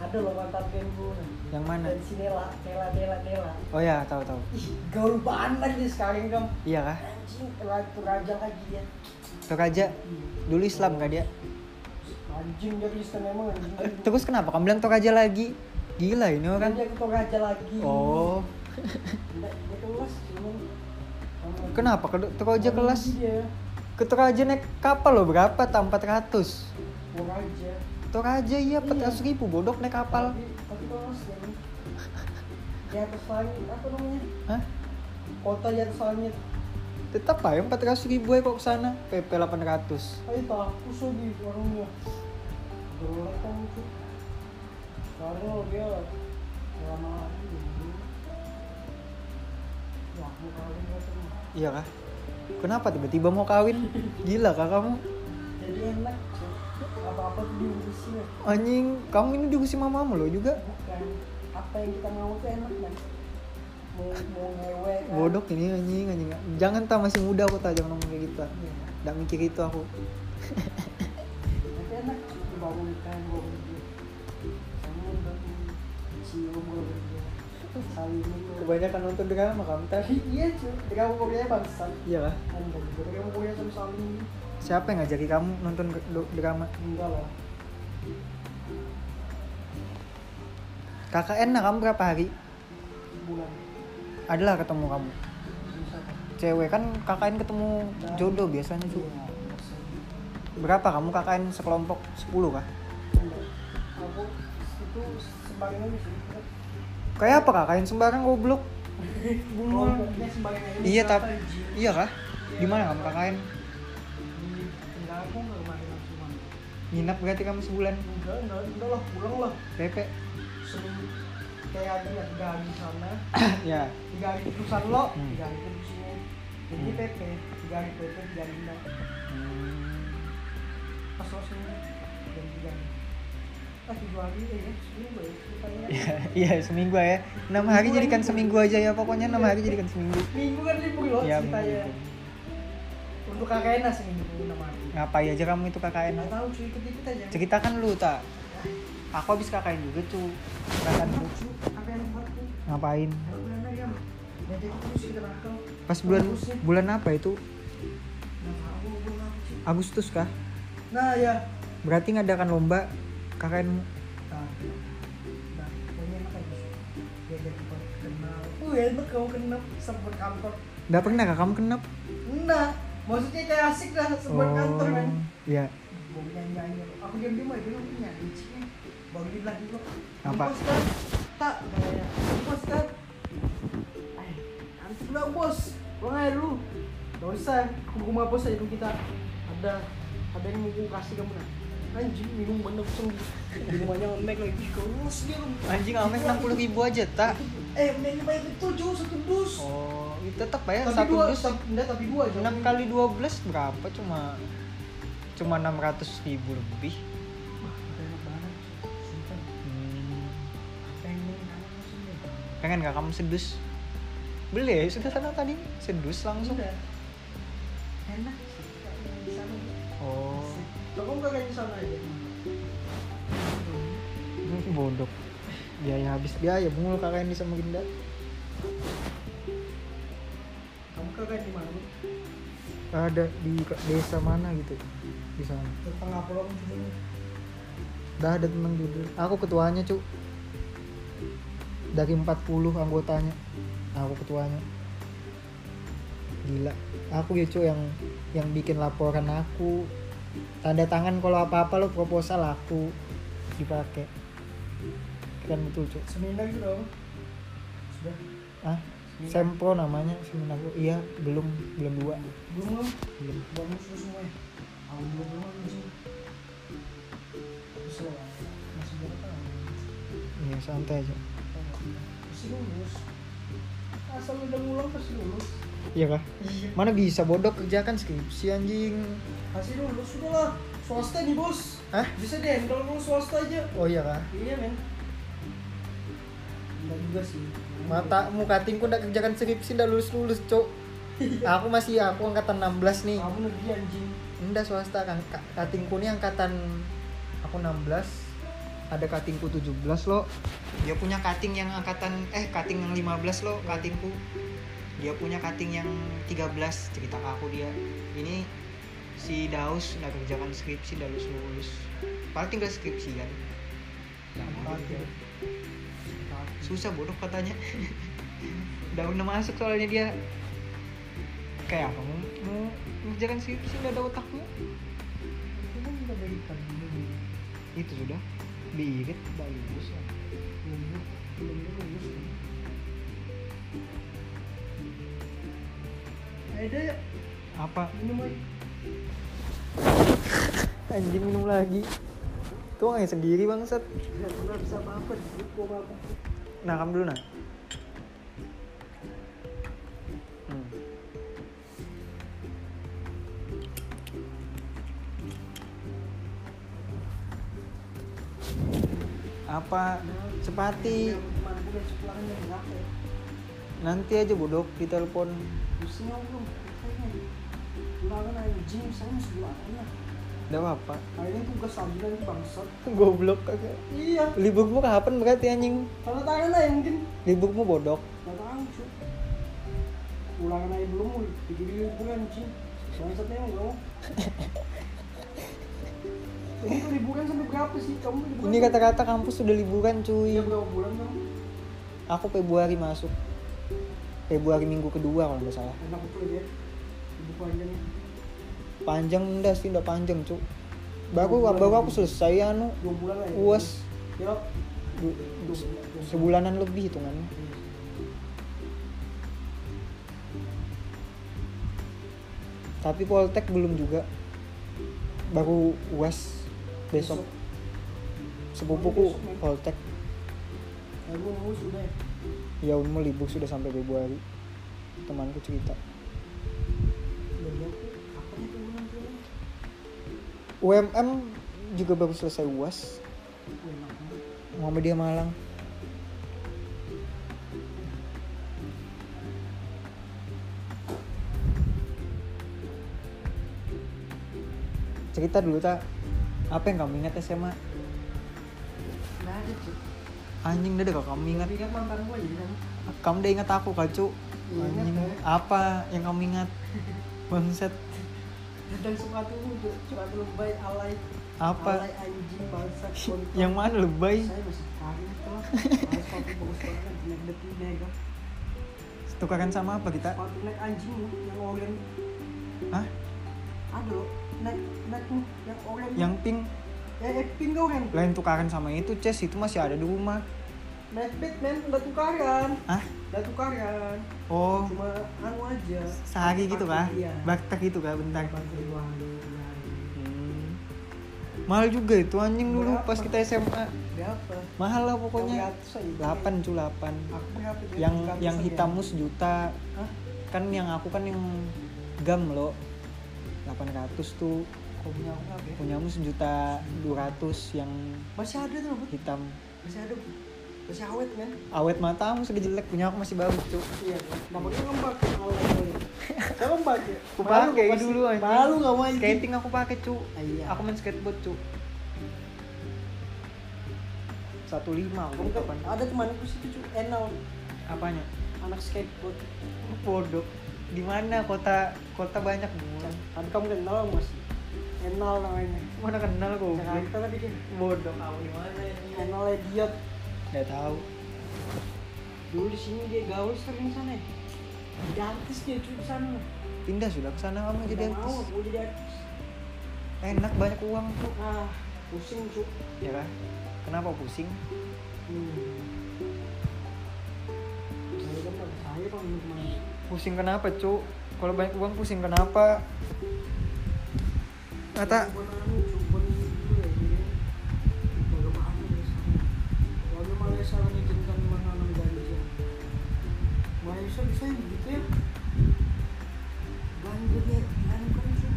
B: ada loh mantan gengku nah.
A: yang mana
B: Tensi Nela Nela Nela Nela
A: oh ya tahu tahu
B: ih gaul banget lagi dia sekarang dong
A: iya kah
B: anjing ratu raja lagi dia
A: Tokaja dulu Islam kah dia
B: anjing dia Kristen emang anjing
A: Eh, Terus kenapa kamu bilang Tokaja lagi? Gila ini
B: kan
A: orang.
B: dia ketua raja lagi
A: Oh,
B: Nggak, dia kelas cuman Sama-
A: kenapa ke- Tokaja
B: Sama
A: kelas?
B: dia
A: Ke Tokaja naik kapal loh berapa? Tam 400.
B: mau raja
A: Tokaja iya
B: Iya.
A: 400 ribu bodok naik kapal.
B: tapi tapi kelas dia nih. di atas langit apa namanya
A: Hah?
B: kota di atas langit
A: Tetap aja 400 ribu aja kok ke sana. PP 800.
B: ayo tak aku sedih orangnya beroleh kamu tuh karena dia lama lagi ya aku kawin gak tuh
A: Iya kah? Kenapa tiba-tiba mau kawin? Gila kah kamu?
B: jadi enak Cuk. apa-apa tuh diurusin ya.
A: Anjing, kamu ini diusir mamamu loh juga.
B: bukan apa yang kita mau tuh enak kan mau mau ngewe kan
A: Bodok ini anjing, anjing. Jangan tak masih muda aku tak jangan ngomong kayak gitu.
B: Iya.
A: Nggak mikir itu aku.
B: tapi enak Cuk. bangun kan bangun dia bangun bangun cium bangun dia saling itu
A: Kebanyakan nonton drama kamu tadi.
B: iya cuy kamu punya bangsat
A: Iya kah?
B: kan dari dari kamu punya sama saling
A: Siapa yang ngajakin kamu nonton dr- dr- drama?
B: enggak lah
A: KKN nah kamu berapa hari?
B: bulan
A: Adalah ketemu kamu.
B: bisa kan
A: Cewek kan KKN ketemu jodoh biasanya cu.
B: Iya, maksudnya.
A: Berapa kamu KKN sekelompok? 10 kah?
B: Enggak. aku itu sembarangan sih
A: Kayak apa KKN sembarang goblok?
B: Kelompoknya sembarangan ini
A: Iya
B: berapa,
A: tapi
B: Ji?
A: iya kah? Di mana kamu KKN?
B: Enggak, aku nggak kemarin langsung mandi.
A: Nginap berarti kamu sebulan
B: Enggak, enggak, enggak lah, pulang lah.
A: PP.
B: Seminggu kayak ada nggak tiga hari di sana,
A: ya.
B: tiga hari di perusahaan lo,
A: Hmm.
B: tiga hari di sini. Jadi
A: Hmm.
B: PP, tiga hari PP, tiga hari enggak. Pas lo seminggu, dan tiga hari. Ah, tujuh hari eh, ya, seminggu ya, ceritanya.
A: Iya, seminggu ya. 6 hari
B: Seminggu
A: jadikan
B: aja.
A: seminggu aja ya. Pokoknya 6 hari jadikan seminggu.
B: Minggu kan libur lo
A: Iya,
B: ceritanya.
A: minggu.
B: Untuk kakaknya nasi minggu enam hari.
A: Ngapain aja kamu itu KKN?
B: Nggak tahu cuy, ikut-ikut aja.
A: ceritakan kan lu tak aku habis kakain juga tuh ceritakan lu
B: Cuy, kakaknya empat tuh.
A: ngapain
B: Kalau bulan aja, dia jadi terus kita nakal.
A: pas bulan
B: Terus sih.
A: bulan apa itu
B: Nggak tahu, gue nggak tahu, cuy.
A: Agustus kah
B: Nah ya,
A: berarti ngadakan lomba KKN
B: Nah, nah, pokoknya enak aja sih. Dia jadi buat kenal. Uh, enak kau kenal sebut kantor.
A: nggak pernah kah kamu kenap
B: Nah, maksudnya kayak asik dah sebut kantor kan.
A: ya
B: Gue nyanyi nyanyi. Aku diam diam aja, aku nyanyi. bang Dim lagi lo
A: Apa?
B: bos kan tak katanya bos kan eh nanti bilang bos uang air lu gak usah aku rumah bos aja dulu kita ada ada yang mau gua kasih kamu nah anjing minum bener sendiri di rumahnya omek lagi kau bos dia lu
A: Anjing amek 60 ribu aja tak.
B: eh mainnya banyak tujuh satu dus
A: Oh, itu tetap ya
B: tapi
A: satu
B: dua
A: dus
B: tapi, enggak tapi dua
A: 6 kali 12 berapa cuma cuma 600 ribu lebih. Hmm. Pengen gak kamu sedus? Beli ya, sudah sana tadi sedus langsung.
B: enak sih di sana
A: Oh,
B: lo kamu gak kayak di sana aja
A: ini bodoh. Biaya habis biaya mulu kakak ini sama Ginda.
B: kamu kagak di mana
A: Ada di ke- desa mana gitu di sana.
B: ke tengah pulau kan dulu
A: Dah ada teman judul. Aku ketuanya, Cuk. Dari 40 anggotanya, aku ketuanya. Gila. Aku ya, Cuk, yang yang bikin laporan aku. Tanda tangan kalau apa-apa lo proposal aku dipakai. Keren betul, Cuk.
B: seminar itu dong sudah
A: Ah, Sempro namanya seminar gua. Iya, belum belum dua.
B: belum lo
A: Belum.
B: bangun sudah semua ya alhamdulillah belum lo sih terus lo masih berapa tahun
A: Iya, santai aja.
B: pasti lulus asal udah ngulang pasti lulus
A: Iya kah?
B: iya
A: Mana bisa bodoh kerjakan skripsi anjing.
B: pasti lulus sudah lah swasta nih bos
A: Hah?
B: bisa deh kalau mau swasta aja
A: Oh iya kah?
B: iya men enggak juga sih
A: Matamu katingku ndak kerjakan skripsi ndak lulus-lulus, Cok. aku masih aku angkatan 16 nih.
B: kamu negeri anjing
A: Ndak swasta kan Ka- katingku nih angkatan aku 16. Ada katingku 17 loh. Dia punya kating yang angkatan eh kating yang 15 loh, katingku. Dia punya kating yang 13 cerita ke aku dia. Ini si Daus ndak kerjakan skripsi ndak lulus-lulus. Paling tinggal skripsi kan. Nah,
B: Kating.
A: susah bodoh katanya udah udah masuk soalnya dia kayak apa mau mau mengerjakan skripsi udah ada otaknya
B: Itu kan udah berikan dulu nih.
A: itu sudah birit bagus ya
B: Lulus, belum lulus. Ayo deh, yuk.
A: apa
B: minum aja.
A: anjing minum lagi tuh yang sendiri bangsat
B: Nggak pernah bisa apa-apa, dipukul sama aku.
A: nah kamu dulu nah hmm. apa sepati
B: Mana gue besok pulangan dari Rafa ya.
A: nanti aja bodoh ditelepon
B: Pusing aku, kayaknya. Pulangan anjing, saya mesti pulangan.
A: Gak apa-apa
B: Kayaknya tugas sambilan itu bangsat.
A: Goblok kagak
B: Iya,
A: Liburmu kapan berarti anjing?
B: tanda tangan aja mungkin.
A: Liburmu bodok
B: Gak tahu cu Ulangan aja belum mul Dikiri liburan cu Bangsatnya emang gak ya, mau Ini tuh liburan sampai berapa sih? Kamu liburan
A: Ini kata-kata kampus sudah liburan
B: Iya
A: cuy
B: berapa bulan kamu?
A: Aku Februari masuk Februari minggu kedua kalau nggak salah
B: Enak betul ya Libur panjang ya.
A: Panjang enggak sih, enggak panjang cuy Baru, baru aku selesai anu
B: Dua bulan aja
A: Uas
B: Ya
A: du- Sebulanan lebih hitungannya Tapi Poltek belum juga Baru uas Besok Sepupuku Poltek
B: Aku mau sudah ya
A: Ya umur libur sudah sampai Februari Temanku cerita
B: Dari aku Apa itu bulan bulan?
A: UMM juga baru selesai UAS
B: Wah, enak banget.
A: Muhammadiyah Malang Cerita dulu tak Apa yang kamu ingat SMA?
B: Nggak ada cu
A: Anjing deh kalau kamu ingat
B: Tapi kan mantan gue aja kan
A: Kamu udah ingat aku kacu
B: Iya, ingat,
A: Anjing
B: Kak.
A: Apa yang kamu ingat? Bangset
B: Dan suka tuh cu Suka tuh lebay alay
A: Apa?
B: Alay anjing bangsat kontol.
A: Yang mana lebay?
B: saya masih kaget itu lah Kalau sepatu bagus banget naik deti mega
A: Tukaran sama apa kita?
B: sepatu naik anjing loh, yang oranye
A: Hah?
B: ada loh naik naik tuh yang oranye
A: Yang pink?
C: eh acting kau kan
A: lain tukaran sama itu Ces itu masih ada di rumah
C: Netbet men udah
B: kan?
C: tukaran
A: ah
C: udah tukaran
A: oh
C: cuma anu aja
A: sehari gitu kah
C: iya
A: baktek gitu kah bentar
C: Bakti doang doang.
A: Hmm. mahal juga itu anjing dulu
C: Berapa?
A: pas kita SMA
C: berapa
A: mahal lah pokoknya
C: 8
A: 8 cu 8
C: aku berapa dia?
A: yang
C: Bukan
A: yang
C: bisa
A: hitammu sejuta
C: ya? Hah?
A: kan yang aku kan yang gam lo 800 tuh
C: kok punya aku berapa ya?
A: punyamu sejuta 200 yang
C: masih ada tuh Bud.
A: hitam
C: masih ada Bud. masih awet men
A: awet matamu sudah jelek punya aku masih bagus tuh
C: iya namanya ngembak kan, kalau boleh kalau ngembak ya
A: aku
C: Malu,
A: pakai
C: pasti.
A: dulu anjing
C: malu kamu anjing
A: skating aku pakai cu
C: gitu? Ah, iya.
A: aku main skateboard cu satu lima
C: Kamu kan- ada temanku situ cuy Enal
A: apanya
C: anak skateboard
A: bodoh di mana kota kota banyak bulan
C: tapi Kan? kamu kenal mas Enal namanya
A: mana kenal kok
C: Jakarta tadi dia
A: bodoh kamu di mana
C: Enal ya, Ediot
A: nggak tahu
C: dulu di sini dia gaul sering sana ya jadi artis dia cuy di sana
A: pindah sudah ke sana kamu Oh, jadi
C: Nggak mau
A: artis
C: aku jadi artis
A: enak banyak uang tuh
C: ah pusing cuy
A: ya kan kenapa pusing
C: hmm. Saya kan pakai saya kalau menurut mana
A: pusing kenapa cu kalau banyak uang pusing kenapa kata
C: Bukan anu, cuy, bukan itu ya, jadi bagaimana ya, sana. Kalau Malaysia mengizinkan menanam ganja. Malaysia bisa ya, gitu ya. Ganja dia, anu kan itu.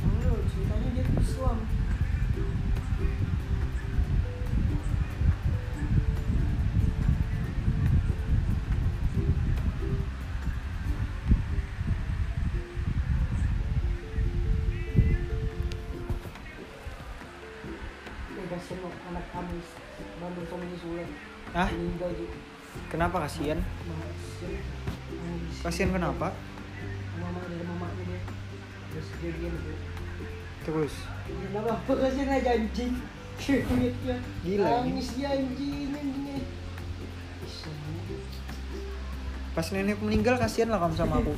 C: Anu, ceritanya dia tuh Islam. Bebas semua anak kami, Bandung kami sulit.
A: ah
C: Meninggal juga.
A: kenapa kasihan
C: Malaysia. Malaysia.
A: kasihan kenapa
C: Mama dari mamanya dia. Terus dia dia dia.
A: terus
C: Gak apa-apa kasih aja anjing Kulitnya
A: Gila, ini.
C: Nangis dia anjing anjing
A: pas nenek meninggal kasihan lah kamu sama aku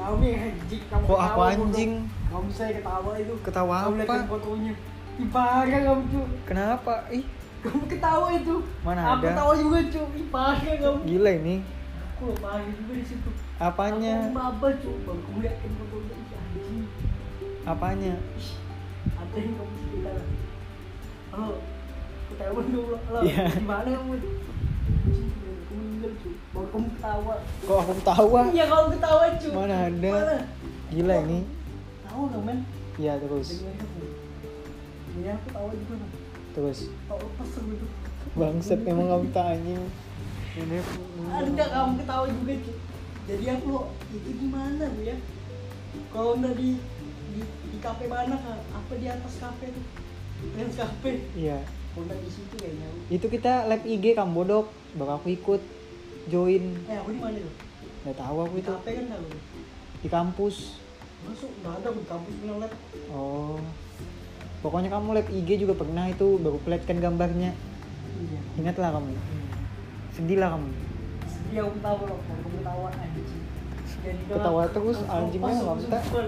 C: Kamu yang anjing kamu
A: Kok aku
C: ketawa,
A: anjing?
C: goblok. Kamu saya ketawa itu
A: Ketawa
C: Kamu lihat
A: apa?
C: fotonya Ih, parah kamu tuh
A: kenapa ih
C: Kamu ketawa itu
A: Mana
C: Aku
A: ada?
C: ketawa juga cuy Ih, parah kamu
A: gila ini
C: Aku loh, parah juga di situ Aku
A: apanya
C: mabal cuy Baru Kamu liatin fotonya ih, anjing
A: apanya
C: Ih, Ada yang kamu cerita lah. Halo Ketawa dulu Halo
A: Iya.
C: Gimana kamu Anjing, Kamu meninggal cuy Baru kamu ketawa
A: kok aku ketawa
C: Iya kamu ketawa cuy
A: Mana ada?
C: Mana?
A: gila ini
C: Tahu nggak men?
A: ya terus
C: Dengerin aku. Dengerin aku tawa juga men. oh,
A: terus
C: Tawa lepas aku itu.
A: bangset emang kamu tak anjing ini
C: Anda Ah, kamu ketawa juga cuy. Jadi aku lo itu gimana bu ya? Kalau udah di di, di kafe mana kan? Apa di atas kafe tuh? Yang kafe.
A: iya
C: Kalau nggak di situ ya, kayaknya.
A: itu kita lab IG kamu bodok bakal aku ikut join
C: Eh aku di mana tuh?
A: nggak tahu aku
C: Di
A: itu
C: kafe kan tahu.
A: di kampus
C: Masuk nggak ada di kampus punya lab.
A: oh pokoknya kamu lab IG juga pernah itu baru pelet kan gambarnya
C: Iya.
A: ingatlah kamu sedih lah kamu
C: Dia aku ketawa loh, aku ketawa anjing. Jadi
B: Ya,
C: dia-
A: Ketawa terus,
C: aku
A: anjingnya
C: lepas,
A: nggak
C: aku
B: Oh.
A: minta.
C: sebel.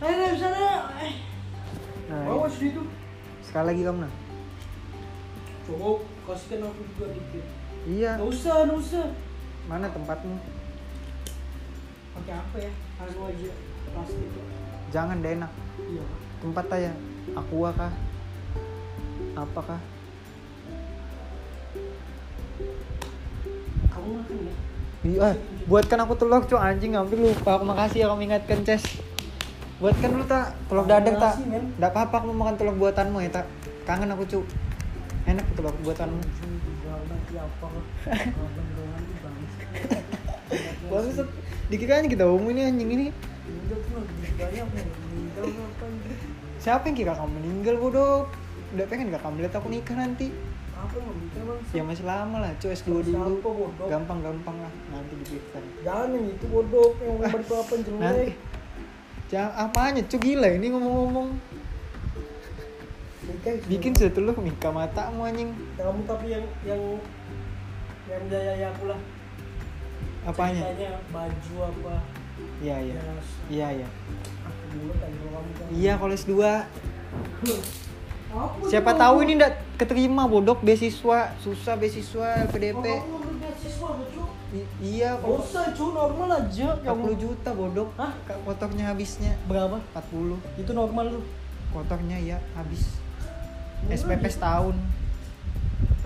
C: Ayo, ayo, sana. Eh,
A: nah,
C: bawa
A: iya.
C: situ.
A: sekali lagi kamu nah
C: Cowok, kasihkan aku juga dikit.
A: iya
C: Nggak usah, nggak usah.
A: mana tempatmu
C: Pakai apa ya? Anu aja, plastik.
A: jangan deh enak
C: Iya.
A: tempat aja aqua kah apakah
C: Kamu makan ya?
A: Iya, buatkan aku telur cu anjing hampir lupa. Aku makasih ya kamu ingatkan Ces. Buatkan dulu tak telur dadar tak.
C: Makasih, men.
A: Enggak apa-apa aku mau makan telur buatanmu ya tak. Kangen aku cu. Enak tuh telur buatanmu.
C: Anjing, gawat, ya apa? Gawat-gawat, bangsa.
A: Bagus dikira aja kita umum ini anjing ini.
C: Meninggal tuh lebih banyak men. Meninggal tuh apa anjing?
A: Siapa yang kira kamu meninggal bodoh? Udah pengen gak kamu lihat aku nikah nanti?
C: Apa yang meninggal bang?
A: Ya masih lama lah, cu S2
C: Siapa
A: dulu.
C: bodoh?
A: Gampang-gampang lah nanti dipikirkan.
C: Jangan yang itu bodoh yang umur berapa
A: Nanti
C: jelek.
A: Jangan apanya cu gila ini ngomong-ngomong.
C: Nikah juga.
A: Bikin sudah telur nikah matamu anjing.
C: kamu tapi yang yang yang biaya aku lah.
A: Apanya?
C: Ceritanya baju apa
A: Iya iya.
C: Jas.
A: Iya iya.
C: Aku dulu tadi kalau kamu kan
A: Iya koles 2.
B: Apa
A: Siapa
B: sih,
A: tahu
B: Bang?
A: ini ndak keterima bodok beasiswa, susah beasiswa
C: Kalau
A: LPDP.
C: Oh, kamu ambil beasiswa apa cu?
A: I- iya
C: Gak
A: kalau
C: usah cu, normal aja Ya
A: 40 juta bodok.
C: Hah?
A: Ka- Kotornya habisnya
C: Berapa?
A: 40.
C: Itu normal lu
A: Kotornya ya habis.
C: Murah,
A: SPP
C: gitu.
A: setahun.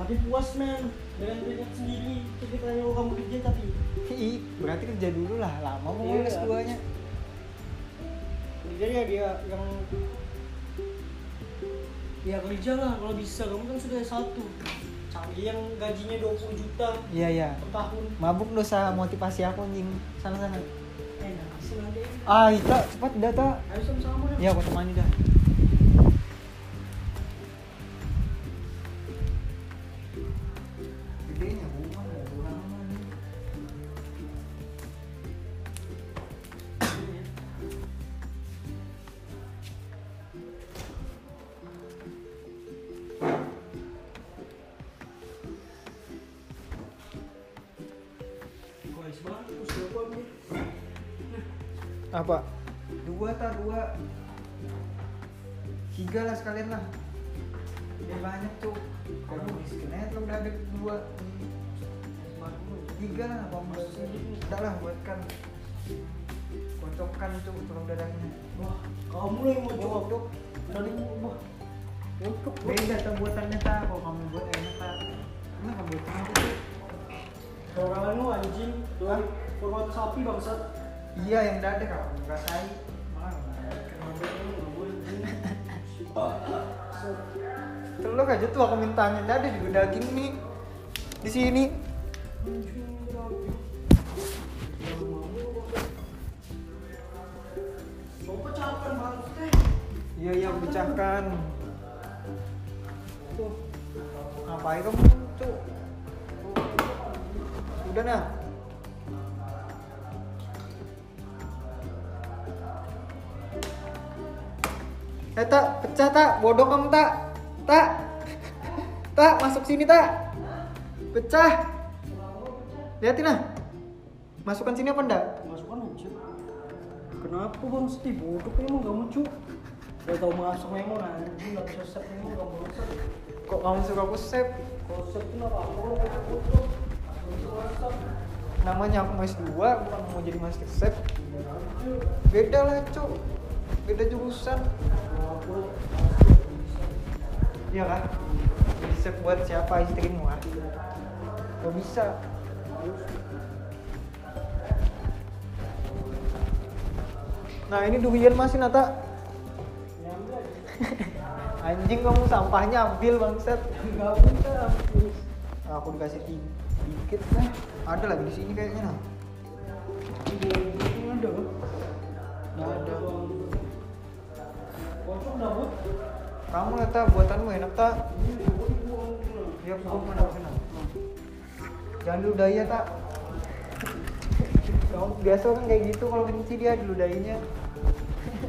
C: Tapi puas men Dengan keringat sendiri Ketika kalau kamu kerja tapi
A: Ih, berarti kerja dulu lah lama mau
C: Iya.
A: koles 2-nya.
C: Kerja ya dia yang Ya kerja lah kalau bisa Kamu kan sudah satu Cari yang gajinya 20 juta
A: Iya iya.
C: per tahun
A: Mabuk dosa motivasi aku anjing. Sana sana.
C: Enak sih nanti
A: Ah, Ita, cepat dah, Ta.
C: Ayo sama-sama dah
A: Ya, aku temani dah. Gedenya rumah, ada lama nih.
C: Guys banget terus berapa nih
A: apa dua ta dua tiga lah sekalian lah udah banyak tuh kamu miskin aja tuh udah ada dua tiga lah apa enggak sih enggak lah buatkan kocokkan tuh tulang dadanya
C: Wah kamu lah yang mau
A: Wah,
C: jawab
A: dok
C: Tadi wah Lengkap Bang.
A: beda tuh buatannya ta kalau kamu buat enak ta enak kamu buat enak tuh
C: Dorongan lu anjing,
A: Hah?
C: doang format sapi bangsat.
A: iya yang dada kalau ngerasai malah
C: Kenapa lu nggak boleh?
A: telur aja tuh aku minta angin dada juga daging nih di sini
C: Anjing, kenapa? Yang mau lu, bangsat. Coba capan bangsat.
A: Iya iya pecahkan. Tuh. Ngapain kamu tuh? Udah nah. Eh tak pecah tak bodoh kamu tak tak tak masuk sini tak pecah liatin nah masukkan sini apa enggak
C: Masukkan anjing. Kenapa bang Seti bodoh emang gak mucu? Gak tau masuk memang anjing, gak bisa set memang gak bangsat.
A: kok kamu suka aku save
C: Konsep tuh apa? Aku lu kayak bodoh. Aku lu konsep.
A: namanya aku mas dua bukan mau jadi master chef beda lah cok beda jurusan
C: Aku lu
A: iya kan Jadi chef buat siapa istrimu ah gak bisa nah ini durian masih nata
C: nyampe aja.
A: anjing kamu sampahnya ambil bangset
C: Gak bisa. Terus.
A: aku dikasih ti- dikit lah ada lagi di sini kayaknya nah
C: Ada.
A: Nggak ada.
C: Kocok dah, Bud.
A: kamu nata buatanmu enak tak
C: Ini dibuat dibuang.
A: Iya, kok mana kena? Jangan ludaya, tak. Kamu biasa kan kayak gitu kalau kelinci dia diludainya.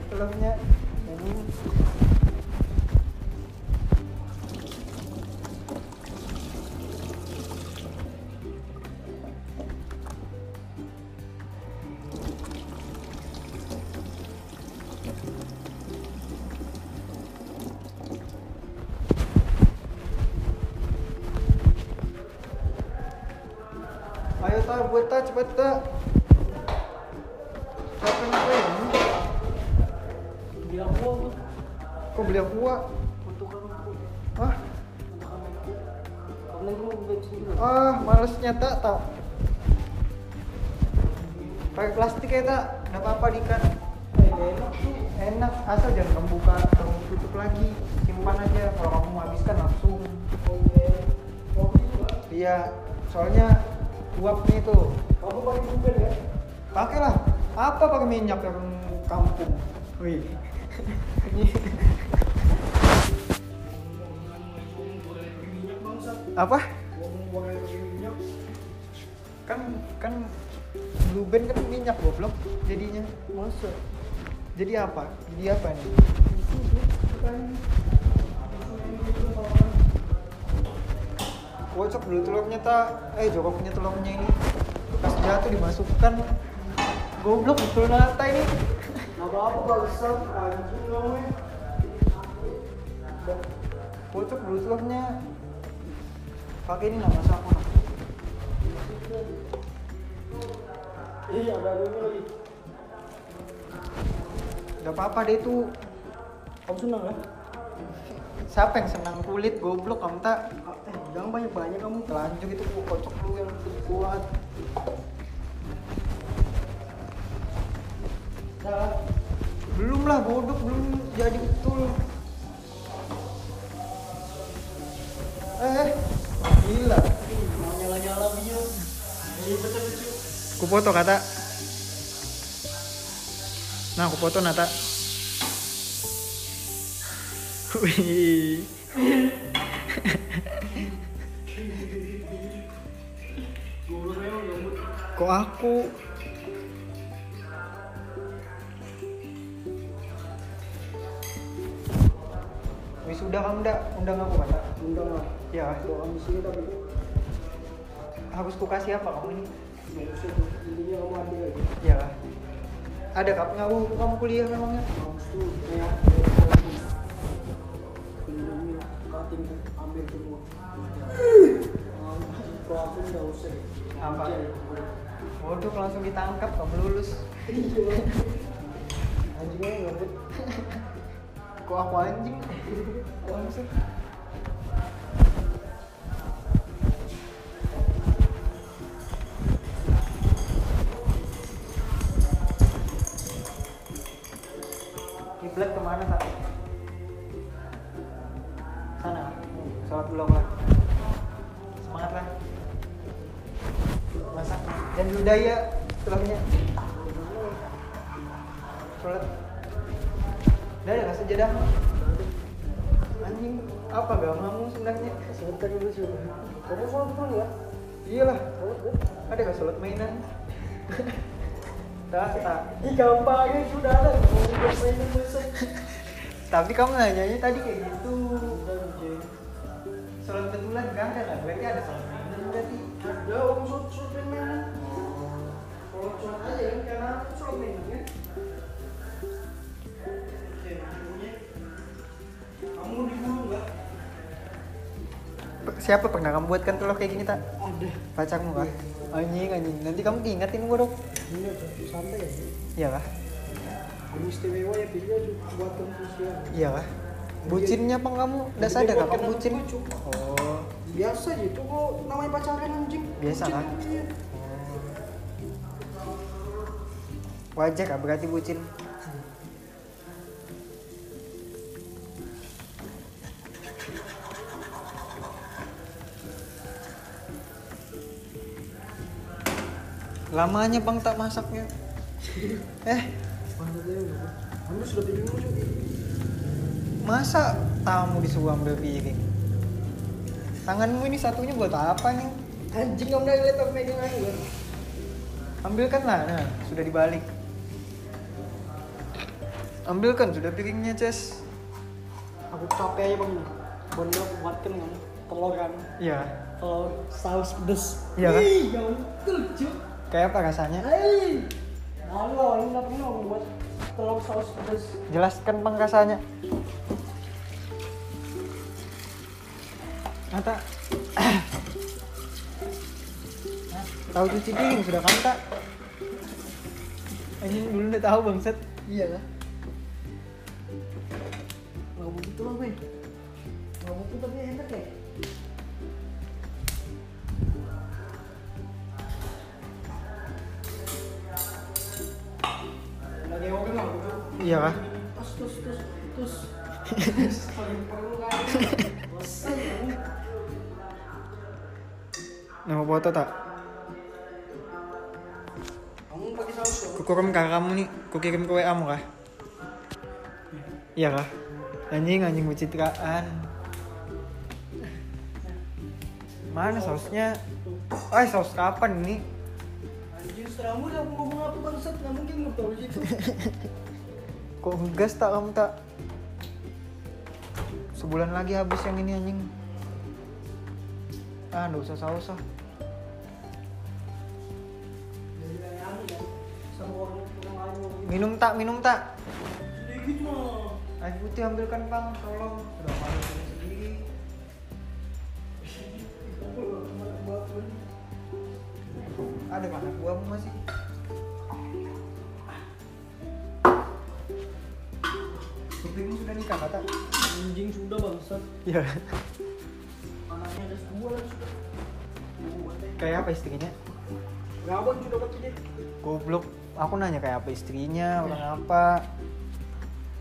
A: Telurnya. Jadi ayo tak buat tak cepat tak. Siapa yang kue?
C: Dia gua, Bud.
A: Kok beli aku? Wak?
C: Kutukan aku.
A: Ah,
C: Kutukan aku. Karena gua mau bensin dulu.
A: ah, malesnya tak tak. Pakai plastik ya tak, nggak apa-apa dikan.
C: Eh, gak enak tuh.
A: Enak, asal jangan kamu buka, kamu tutup lagi. Simpan aja, kalau kamu mau habiskan langsung.
C: Oh, iya. Kopi juga.
A: Iya, soalnya uapnya itu
C: Kamu pakai Google ya?
A: pakailah apa pakai minyak yang kampung. Wih.
C: Minyak bangsat.
A: apa?
C: Gua mau buang air pakai minyak.
A: Kan kan Blue Band kan minyak goblok jadinya.
C: Masa?
A: Jadi apa? Jadi apa nih?
C: Itu tuh, katanya. Itu yang gitu, kawan.
A: Kocok dulu telurnya tak. Eh jokok punya telurnya ini. Pas jatuh tuh dimasukkan goblok betul nata ini
B: Nggak apa-apa barusan anjing kamu ya.
A: bocok bluetoothnya pakai ini nama siapa Nak?
B: Ih, ada ada ini lagi.
A: Gak apa-apa deh itu
B: Kamu senang ya?
A: siapa yang senang kulit goblok kamu tak
B: Eh, jangan banyak-banyak kamu.
A: telanjang itu kocok lu yang lebih kuat
B: Salah.
A: belum lah bodoh belum jadi betul eh gila
C: mau nyala-nyala video ini betul lucu
A: aku foto kata nah aku foto nata wih kok aku wis udah kamu dak undang aku kata
B: Undang lah.
A: ya
B: Kalau kamu sini tapi
A: harus ku kasih apa kamu ini
B: bagus itu. Intinya kamu ambil aja.
A: ya ada kap ngaku kamu kuliah memangnya
B: Kampus tuh kayak kayak kampus. Penduduknya, cutting, ambil semua. Kalau kalau aku nggak usah. deh.
A: Apa?
B: Anjay.
A: bodoh langsung ditangkap kamu lulus
B: Anjingnya nggak boleh.
A: kok aku anjing langsung kiblat kemana tak sana sholat dulu lah semangat lah masak dan budaya tulangnya sholat udah ada nggak sejadah anjing apa agamamu sebenarnya
B: Sebentar dulu sih. Kamu sholat dulu ya.
A: iyalah
B: Sholat dulu.
A: ada nggak sholat mainan tak tak
B: Ih gampangnya sudah ada. Kamu udah mainin masa.
A: tapi kamu nanyanya tadi kayak gitu sholat betulan gak ada lah berarti ada sholat mainan berarti
B: Ya, kamu sholat sholat main mana? Sholat sholat aja kan karena aku sholat main kan. Oke, bunyinya. Kamu di dulu nggak?
A: P- siapa pernah kamu buatkan telur kayak gini tak
B: Ada. Iya.
A: pacarmu kah anjing anjing nanti kamu diingetin Iya, bodoh
B: Ini udah santai ya.
A: iyalah
B: Kamu istimewa ya pilihnya cuma buat konfusian.
A: iyalah Iya. bucinnya apa kamu udah
B: Jadi
A: sadar
B: buat
A: kamu
B: kenapa
A: bucin
B: lucu?
A: oh
B: Biasa gitu kok namanya pacaran anjing.
A: Biasa,
B: Bucin,
A: kan?
B: iya.
A: wajar kah berarti bucin lamanya bang tak masaknya eh
B: Pantatnya udah. Kamu sudah tinggi juga.
A: masa tamu disuruh ambil piring tanganmu ini satunya buat apa nih
B: Anjing kamu udah lihat aku megang aku kan?
A: ambilkan lah nah sudah dibalik ambilkan sudah piringnya Ces
B: Aku capek aja bang. Bener aku buatkan kan telur kan.
A: ya
B: Telur saus pedes.
A: Iya kan?
B: Ih, ya betul cuy.
A: kayak apa rasanya
B: Hei, malu lah ini nggak pernah aku buat telur saus pedes.
A: jelaskan bang rasanya Ata tahu cuci piring sudah kan tak ini dulu udah tahu bangset
B: Iya lah. Nggak
C: gitu
B: begitu lah men. Nggak begitu tapi enak ya. Lagi oke lah, Bro.
A: iya kah
B: Terus, terus, terus, terus. Terus, paling perlu kan. Bosan, kan?
A: nama foto tak
B: Kamu pakai saus dong?
A: kukurum kah kamu nih kukirim ke WA mu kah iya kah anjing anjing pencitraan mana sausnya ay saus kapan nih
B: Anjing seramu dah ngomong apa bangsat? Nggak mungkin lu tahu gitu.
A: Kok ngegas tak kamu tak? Sebulan lagi habis yang ini anjing. Ah, nggak usah saus ah.
B: Ya
A: minum tak minum tak
C: sedikit mah
A: air putih ambilkan bang tolong sudah malu sendiri sendiri ada mana buahmu masih Supirmu sudah nikah kata?
D: anjing sudah bangsat
A: Iya.
D: anaknya ada dua lagi sudah Dua, teh.
A: Kayak apa istrinya?
C: Ngawon juga dapat dia.
A: Goblok. Aku nanya kayak apa istrinya, orang apa?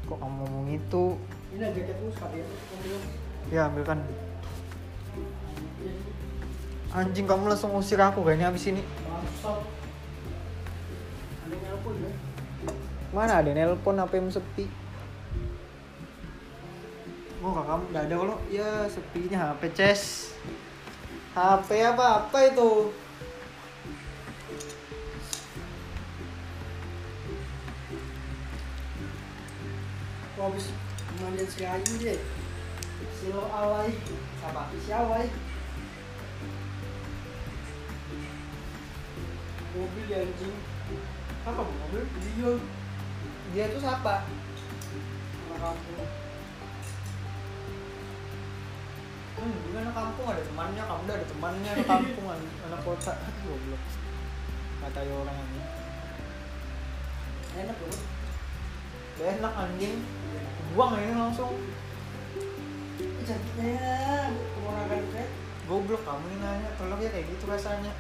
A: Kok kamu ngomong itu?
C: Ini ada jaket lu sekali ya. Kamu bilang,
A: Ya ambilkan. Anjing kamu langsung usir aku kayaknya abis ini.
C: Bangsat. Ada nelpon ya.
A: Mana ada nelpon HPmu sepi? Oh kakak kamu nggak ada lo? Ya sepinya HP Ces. HP apa apa itu?
C: Kau habis mandian si Ayu deh. Si lo alay. Sama si alay. Mobil ya anjing. Apa bu mobil? Iya.
A: Dia tuh siapa?
C: Anak kampung.
A: Hmm, dia anak kampung ada temannya, kamu udah ada temannya anak kampung anak, anak kota. Goblok. Kata orang ini.
C: Enak loh.
A: Gak enak anjing. Buang ini langsung.
C: Cantiknya. Kemonakan kayak.
A: Goblok kamu ini nanya, tolong ya kayak gitu rasanya.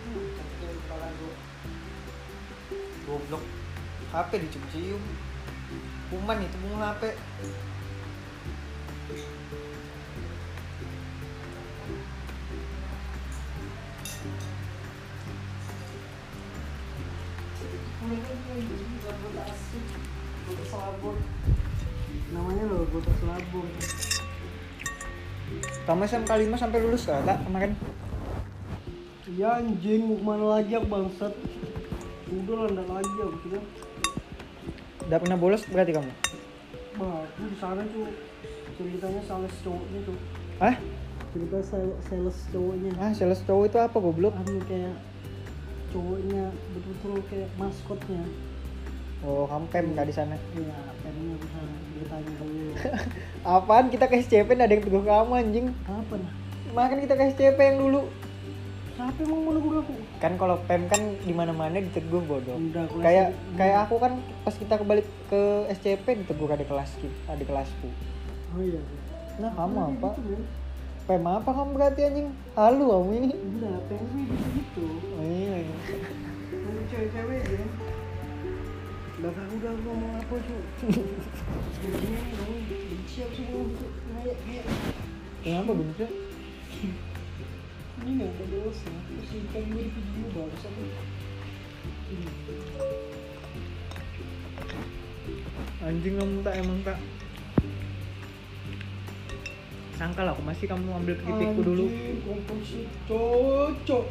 C: Hmm, Cantiknya kepala gue.
A: Goblok. HP dicium-cium. Kuman itu bunga HP.
C: namanya loh botak selabung
A: Kamu SMK 5 sampai lulus gak, tak kemarin?
C: ya anjing mau kemana lagi ya bangsat udah lah ndak lagi ya maksudnya
A: Udah pernah bolos berarti kamu?
C: bah aku di sana tuh ceritanya sales cowoknya tuh
A: Hah?
C: cerita sales, sales cowoknya
A: Ah, sales cowok itu apa goblok?
C: anu kayak cowoknya betul-betul kayak maskotnya
A: Oh, kamu camp gak di sana?
C: ya pengennya di sana ceritanya dulu
A: Apaan kita ke SCP ada yang teguh kamu anjing?
C: kapan
A: Makan kita ke SCP yang dulu.
C: siapa emang mau negur aku
A: Kan kalau pem kan di mana-mana diteguh bodoh.
C: udah aku
A: Kayak
C: langsung-
A: kayak aku kan pas kita kebalik ke SCP diteguh ada kelas ki- ada kelasku.
C: oh iya
A: Nah, kamu
C: Kayak
A: apa?
C: gitu, men.
A: Pem apa kamu berarti anjing? Halu kamu ini.
C: enggak pengen gitu
A: Iya.
C: Nanti cewek-cewek ya Bakal udah lu ngomong apa cu Sebenernya dong Benci aku semua gitu Kayak kayak
A: Kenapa bener?
C: Ini gak ada ya. dosa Terus ikan gue di video baru satu
A: Anjing kamu tak emang tak. Sangka lah aku masih kamu ambil kritikku dulu.
C: Anjing, komposisi cocok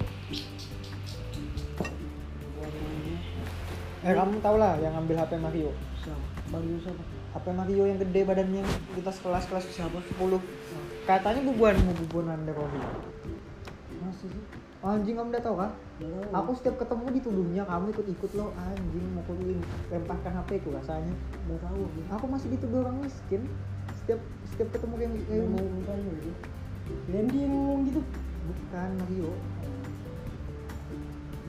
C: Warnanya
A: Eh kamu tau lah yang ambil HP Mario.
C: Siapa? Baru siapa?
A: HP Mario yang gede badannya kita sekelas kelas siapa 10 katanya bubuanmu bubuan anda Robi
C: Masih sih
A: anjing kamu udah tau kah
C: Baru.
A: aku setiap ketemu dituduhnya kamu ikut ikut lo anjing mau kuliin lemparkan HP ku rasanya
C: Gak tau aku
A: aku masih dituduh orang miskin setiap setiap ketemu kayak
C: Gak
A: kayak
C: mau mukanya gitu Randy yang ngomong gitu
A: bukan Mario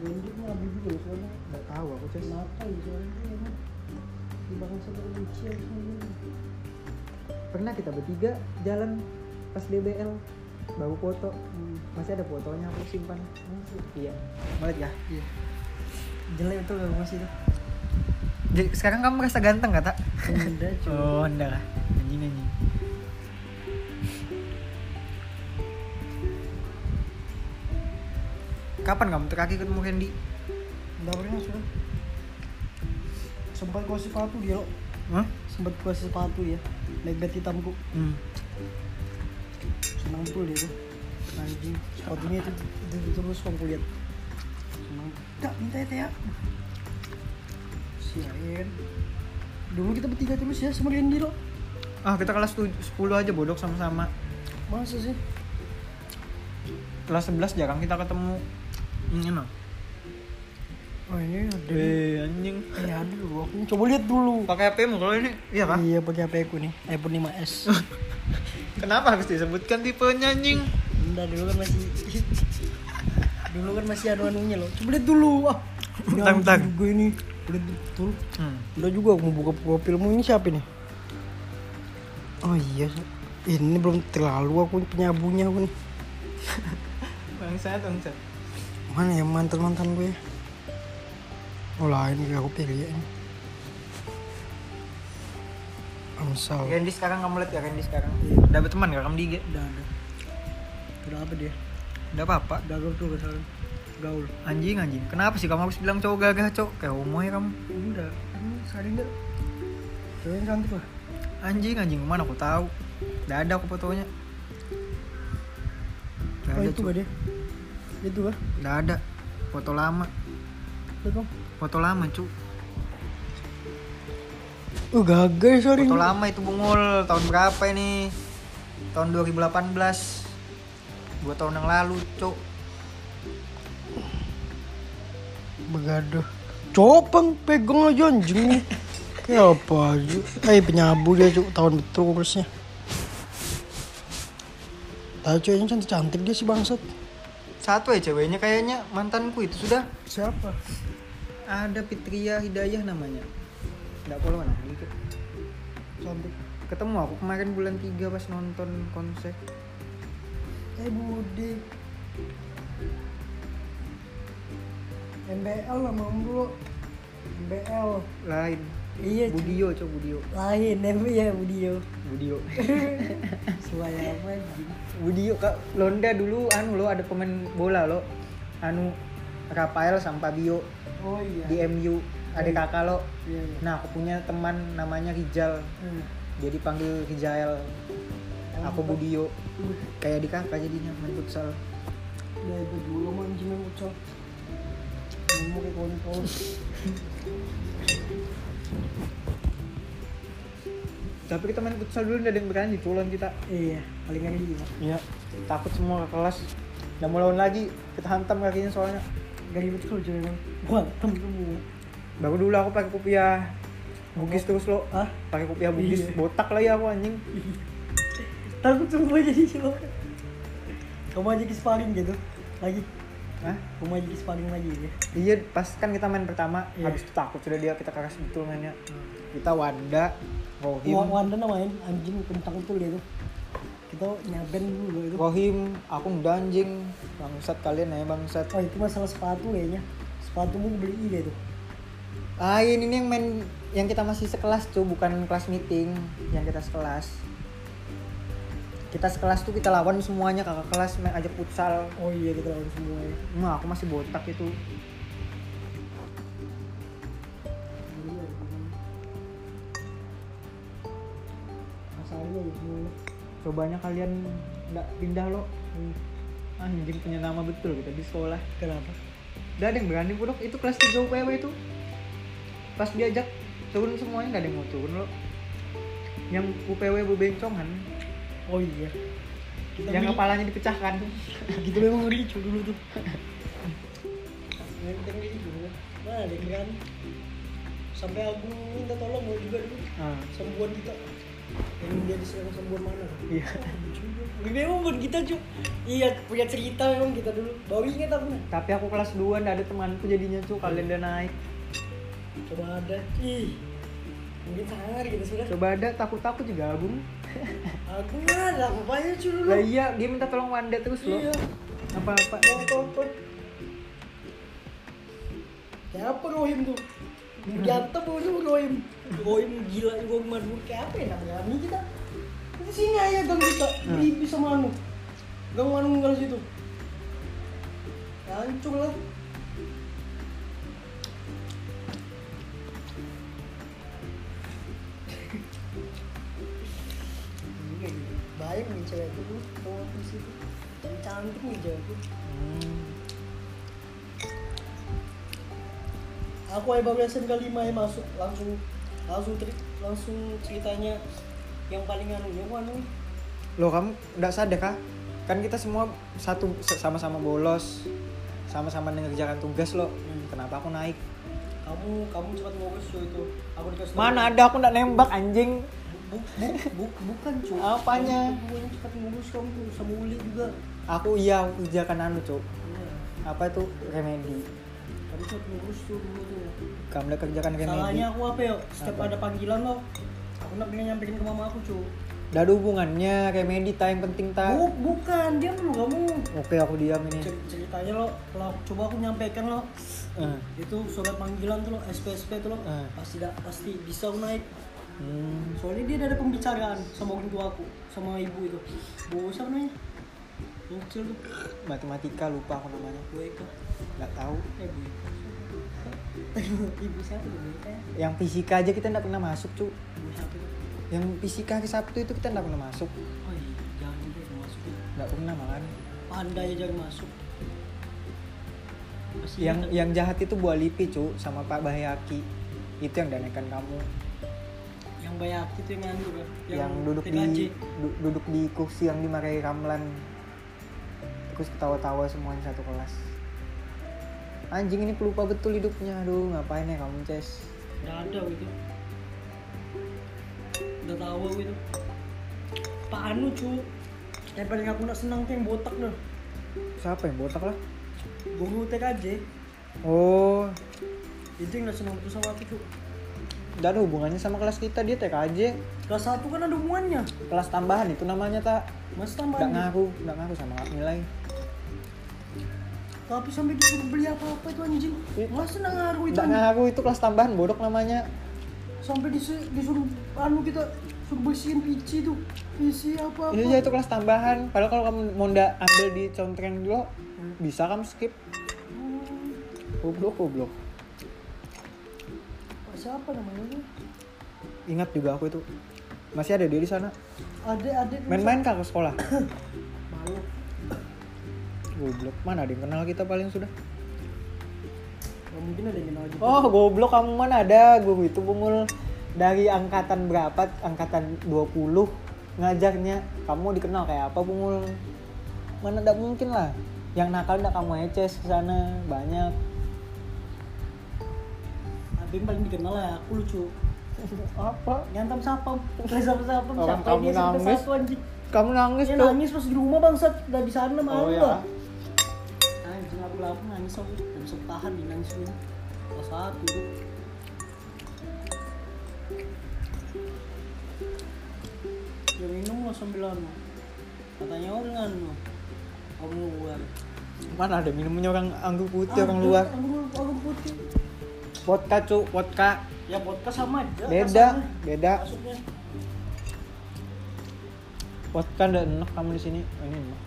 C: Randy tuh abis juga loh soalnya
A: nggak tahu aku cek
C: Kenapa ya soalnya dia emang di bangsa terbenci harus ngomong.
A: pernah kita bertiga jalan pas DBL baru foto
C: Hmm,
A: masih ada fotonya aku simpan
C: masuk.
A: iya balik ya
C: Iya.
A: jelek tuh kamu masih tuh jadi sekarang kamu merasa ganteng gak tak
C: Benda cuy.
A: Oh, enggak lah. Anjing anjing. Kapan kamu terakhir ketemu Hendy?
C: Nggak pernah sudah. Sempat gua sepatu dia loh.
A: Hah?
C: Sempat gua sepatu ya. Legat hitamku.
A: Hmm.
C: Senang betul dia tuh. ya, Anjing. Sepatunya itu, itu, itu terus kamu lihat. Senang. Tak minta ya Teh, ya. Si Ayen. Dulu kita bertiga terus ya sama Randy loh.
A: Ah, kita kelas tuj- 10 aja bodok sama-sama.
C: Masa sih?
A: Kelas 11 jarang kita ketemu. Hmm, enak.
C: Oh ini ada.
A: Eh, anjing
C: Iya ada dulu. Aku coba lihat dulu.
A: Pakai HP mu kalau ini? Iya, Pak.
C: Iya pakai HP aku nih, iPhone 5s.
A: Kenapa harus disebutkan tipenya anjing?
C: Enggak dulu kan masih dulu kan masih ada anunya loh. Coba lihat dulu. Ah,
A: Bentar, bentar.
C: Gue ini lihat betul.
A: Hmm.
C: Udah juga aku mau buka profilmu ini siapa nih? Oh iya, ini belum terlalu aku penyabunya aku nih.
A: Bangsat, bangsat.
C: Mana ya mantan mantan gue? ya? Oh
A: Ah,
C: lain gue aku pilih ya. Amsal.
A: Randy sekarang kamu lihat ya Randy sekarang. Udah berteman gak kamu di IG?
C: Udah ada. Udah apa dia?
A: Udah apa-apa.
C: Gaul tuh kesalahan. Gaul.
A: Anjing anjing. Kenapa sih kamu harus bilang cowok gagah, cowok? Kayak homo ya kamu.
C: Enggak, kamu sadar enggak? Cewek cantik lah.
A: Anjing anjing mana aku tahu. Udah ada aku fotonya. Udah
C: Oh
A: ada,
C: itu
A: cu.
C: gak dia? Itu gak?
A: Udah ada. Foto lama.
C: Lihat dong.
A: Foto lama, cu.
C: Oh gagal sorry.
A: Foto lama itu bungul. Tahun berapa ini? Tahun 2018. Dua tahun yang lalu, cu.
C: Begaduh. Copeng pegang aja anjing. Kayak apa aja? Eh penyabu dia cuk tahun betul kurusnya. Tahu ceweknya cantik cantik dia sih bangsat.
A: Satu ya ceweknya kayaknya mantanku itu sudah
C: Siapa?
A: ada Fitria Hidayah namanya. Enggak follow nah gitu.
C: Cantik.
A: Ketemu aku kemarin bulan 3 pas nonton konser.
C: Eh Budi. MBL lah mau dulu. MBL.
A: Lain.
C: Iya. Budi.
A: Budio, coba Budio.
C: Lain, tapi ya Budio.
A: Budio.
C: Selain apa ya? anjing?
A: Budio Kak Londa dulu anu lo ada pemain bola lo. Anu Rafael sama Fabio
C: Oh iya.
A: di MU. Ada kakak lo.
C: Iya, iya.
A: Nah, aku punya teman namanya Rijal.
C: Hmm.
A: Dia dipanggil Rijael. Aku Budio. Kayak di kakak jadinya main futsal.
C: Ya itu dulu mah anjing yang ucap. Ngomong kayak kontol.
A: Tapi kita main futsal dulu udah ada yang berani culon kita.
C: Iya, paling ada dia.
A: Iya, takut semua ke kelas. Udah mau lawan lagi, kita hantam kakinya soalnya.
C: Gak ribet kalau cewek bang. Wah, temen
A: Baru dulu aku pakai kopiah Bugis terus lo.
C: Hah?
A: Pakai kopiah Bugis,
C: Iya.
A: botak lah ya aku anjing.
C: Takut semua jadi cowok. Kamu aja kis paling gitu. Lagi.
A: Hah?
C: Kamu aja kis paling lagi ya.
A: Iya, pas kan kita main pertama,
C: Iya.
A: habis itu takut sudah dia kita keras betul mainnya. Kita Wanda,
C: Wan-
A: Rohim,
C: Wanda namain anjing kencang tuh dia tuh. Kita nyaben dulu gitu.
A: Rohim, aku udah anjing. Bangsat kalian ya bangsat.
C: Oh itu masalah sepatu kayaknya. Sepatumu beli deh tuh.
A: Lain Ah, iya, ini yang main yang kita masih sekelas tuh bukan kelas meeting yang kita sekelas. Kita sekelas tuh kita lawan semuanya kakak kelas main ajak futsal.
C: Oh iya kita lawan semua ya.
A: Nah, aku masih botak itu.
C: Masalahnya ya semuanya.
A: Cobanya kalian nggak pindah lo. Hmm. Anjing punya nama betul kita di sekolah.
C: Kenapa?
A: Udah ada yang berani budok itu kelas 3 UPW itu. Pas diajak turun semuanya nggak ada yang mau turun lo. Yang UPW bebencongan,
C: Oh iya. Kita
A: yang
C: beli-
A: kepalanya dipecahkan.
C: gitu memang ricu dulu tuh Nenteng ricu mana ada yang berani Nah, sampai aku minta tolong mau juga dulu
A: Ah,
C: sembuhan kita yang dia diserang sembuhan mana
A: iya.
C: Lucu juga. memang buat kita cuy iya punya cerita memang kita dulu baru ingat aku nah.
A: Tapi aku kelas 2 nggak ada temanku jadinya tuh kalian udah naik.
C: coba ada ih mungkin sangar gitu sudah
A: Coba ada takut-takut juga gabung.
C: aku nggak ada apa apanya cuy dulu
A: Lah iya, dia minta tolong Wanda terus lo.
C: iya
A: Apa-apa.
C: mau tonton kayak apa Rohim tuh Diantem mau tuh Rohim Rohim gila juga madu kayak apa ya namanya Ini kita Itu sini aja gang kita Ribi sama Anu Gang Anu nggak situ Hancur lah gitu. Baik nih cewek itu tuh, bawa ke situ. Cantik nih cewek itu.
A: Hmm.
C: aku ayah baru SMK 5 ya masuk langsung langsung teri- langsung ceritanya yang paling anu yang anu
A: Loh kamu nggak sadar kah? Kan kita semua satu sama-sama bolos, sama-sama mengerjakan tugas lo. Kenapa Hmm, aku naik?
C: kamu kamu cepat ngurus cuy itu aku dikasih tahu.
A: Mana ada aku nggak nembak anjing.
C: Bu- bu- bu- bukan cuy
A: Apanya?
C: kamu yang cepat ngurus kamu tuh sama Uli juga
A: Aku iya aku kerjakan anu cuk.
C: Iya.
A: Apa itu remedi?
C: kamu cepat ngurus tuh dulu tuh
A: Kamu udah kerjakan remedi.
C: Salahnya aku apa ya? Setiap
A: Apa?
C: ada panggilan lo, aku nggak pernah nyamperin ke mama aku cuy.
A: Udah ada hubungannya remedi ta yang penting ta.
C: Bu, bukan dia perlu kamu.
A: Oke aku diam ini.
C: Cer- Ceritanya lo, kalau aku- coba aku nyampaikan lo,
A: Eh,
C: itu surat panggilan tuh lo, SPSP tuh lo,
A: Eh.
C: pasti da- pasti bisa aku naik.
A: Hmm.
C: Soalnya dia ada pembicaraan sama orang tua aku, sama ibu itu. Bu siapa namanya? Yang kecil tuh,
A: Matematika lupa aku namanya.
C: Bu Eka.
A: Nggak tahu.
C: Eh Bu Eka. ibu siapa tuh? Bu Eka? ya?
A: Yang fisika aja kita nggak pernah masuk cuk.
C: Ibu siapa tuh?
A: Yang fisika hari Sabtu itu kita nggak pernah masuk.
C: Oh iya, jangan sampai aku masuk. ya.
A: Nggak pernah makan.
C: pandai aja yang masuk Masih
A: Yang
C: ingat.
A: yang jahat itu buah lipi cuk sama Pak Bahyaki. Itu yang danaikan kamu.
C: yang banyak itu yang nganggur ya
A: yang, duduk
C: TKJ.
A: di du- duduk di kursi yang dimarahi Ramlan terus ketawa-tawa semuanya satu kelas anjing ini pelupa betul hidupnya aduh ngapain ya kamu Ces
C: udah ada gitu udah tahu gitu Pak Anu cu yang Eh, paling aku nak senang tuh yang botak dah
A: siapa yang botak lah
C: guru TKJ
A: oh
C: itu yang nak senang tuh sama aku cu
A: gak ada hubungannya sama kelas kita dia TKJ
C: kelas satu kan ada hubungannya
A: kelas tambahan itu namanya tak
C: mas
A: gak
C: tambahan
A: ngaruh gak ngaruh sama nilai
C: tapi sampai disuruh beli apa-apa itu anjing
A: Iya.
C: mas senang ngaruh itu
A: gak
C: anjing.
A: ngaruh itu kelas tambahan bodoh namanya
C: sampai disuruh, disuruh Anu kita suruh bersihin pici tuh pici apa-apa
A: iya iya, itu kelas tambahan padahal kalau kamu mau ndak ambil di contreng dulu bisa kamu skip
C: Hmm.
A: goblok goblok
C: Pak siapa namanya tuh?
A: ingat juga aku itu masih ada dia di sana
C: Adik adik
A: main-main kah ke sekolah
C: malu
A: goblok mana ada yang kenal kita paling sudah
C: Nggak mungkin ada yang kenal juga
A: oh goblok kamu mana ada guru itu bungul dari angkatan berapa angkatan 20 ngajarnya kamu dikenal kayak apa bungul mana tidak mungkin lah yang nakal tidak kamu eces ke sana banyak
C: Adik yang paling dikenal lah aku lucu
A: apa
C: nyantam sapam nggak sapam sapam
A: Orang
C: siapa
A: kamu
C: dia sampai
A: nangis.
C: satu anjing
A: kamu nangis
C: dia
A: tuh
C: nangis pas di rumah bangsat udah di sana malu
A: Oh, ya.
C: lah anjing aku laku nangis aku nggak bisa tahan dia nangis dulu pas satu tuh dia minum lah sambil anu katanya orang anu kamu luar Ah,
A: mana ada minumannya orang anggur putih orang
C: Ada,
A: luar
C: anggur- anggur putih
A: vodka cu vodka
C: Ya podcast sama aja.
A: beda
C: rasanya.
A: beda
C: Maksudnya
A: vodka tidak enak kamu di sini Oh, ini enak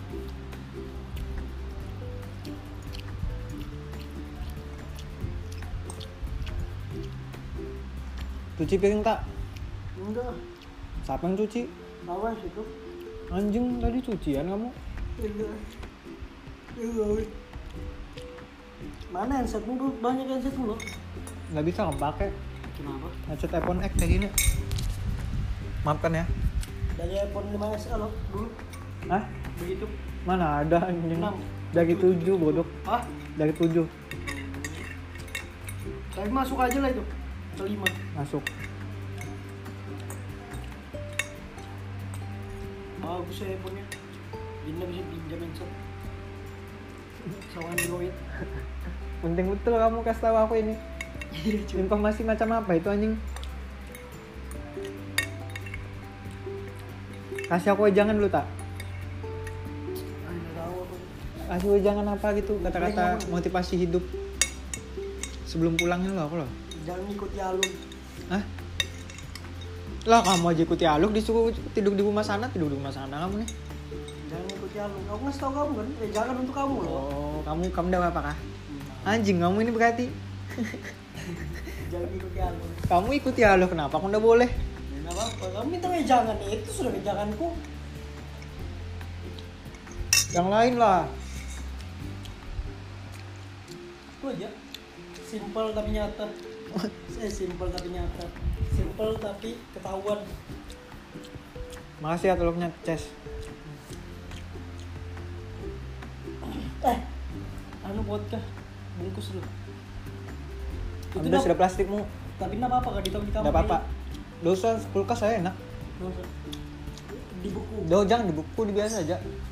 A: cuci piring tak
C: enggak.
A: siapa yang cuci
C: Awas itu.
A: anjing tadi cucian kamu
C: Enggak. Enggak. Mana handsetmu bro? Banyak handsetmu lo.
A: nggak bisa kamu pakai
C: Kenapa?
A: headset iPhone X kayak gini maafkan ya
C: Dari iPhone 5S lo dulu
A: Hah?
C: begitu.
A: mana ada anjing
C: Enam.
A: dari tujuh bodoh
C: Ah,
A: dari tujuh
C: tapi masuk aja lah itu. Kelima.
A: masuk
C: Bagus ya handphonenya. Jadi nggak bisa pinjam handset. Sama Android.
A: penting betul kamu kasih tahu aku ini
C: Iya,
A: informasi macam apa itu anjing kasih aku jangan dulu tak
C: Enggak Ah, tahu aku.
A: kasih jangan apa gitu kata-kata
C: Jangan.
A: motivasi hidup sebelum pulangin lo aku lo
C: Jangan ikuti alur.
A: Hah? lah kamu aja ikuti aluk disuruh tidur di rumah sana tidur di rumah sana kamu nih
C: Jangan ikuti alur. Aku ngasih tau kamu kan. Eh, jangan untuk kamu loh.
A: oh kamu kamu udah apa kah
C: Iya.
A: anjing kamu ini berarti
C: Jangan ikuti alur.
A: kamu ikuti aluk kenapa aku udah boleh
C: Nggak apa-apa, kamu minta wejangan Eh, itu sudah wejanganku
A: yang lain lah
C: Itu aja Simple tapi nyata Saya simple tapi nyata Simple tapi ketahuan
A: makasih ya tolongnya Ces
C: Eh, anu vodka Bungkus dulu Itu
A: Ambil
C: dong.
A: sudah plastikmu.
C: tapi nggak apa-apa kan ditabung di kamar
A: Enggak apa-apa. Dosa kulkas saya enak.
C: Nggak usah. di buku
A: Jauh jangan di buku di biasa aja.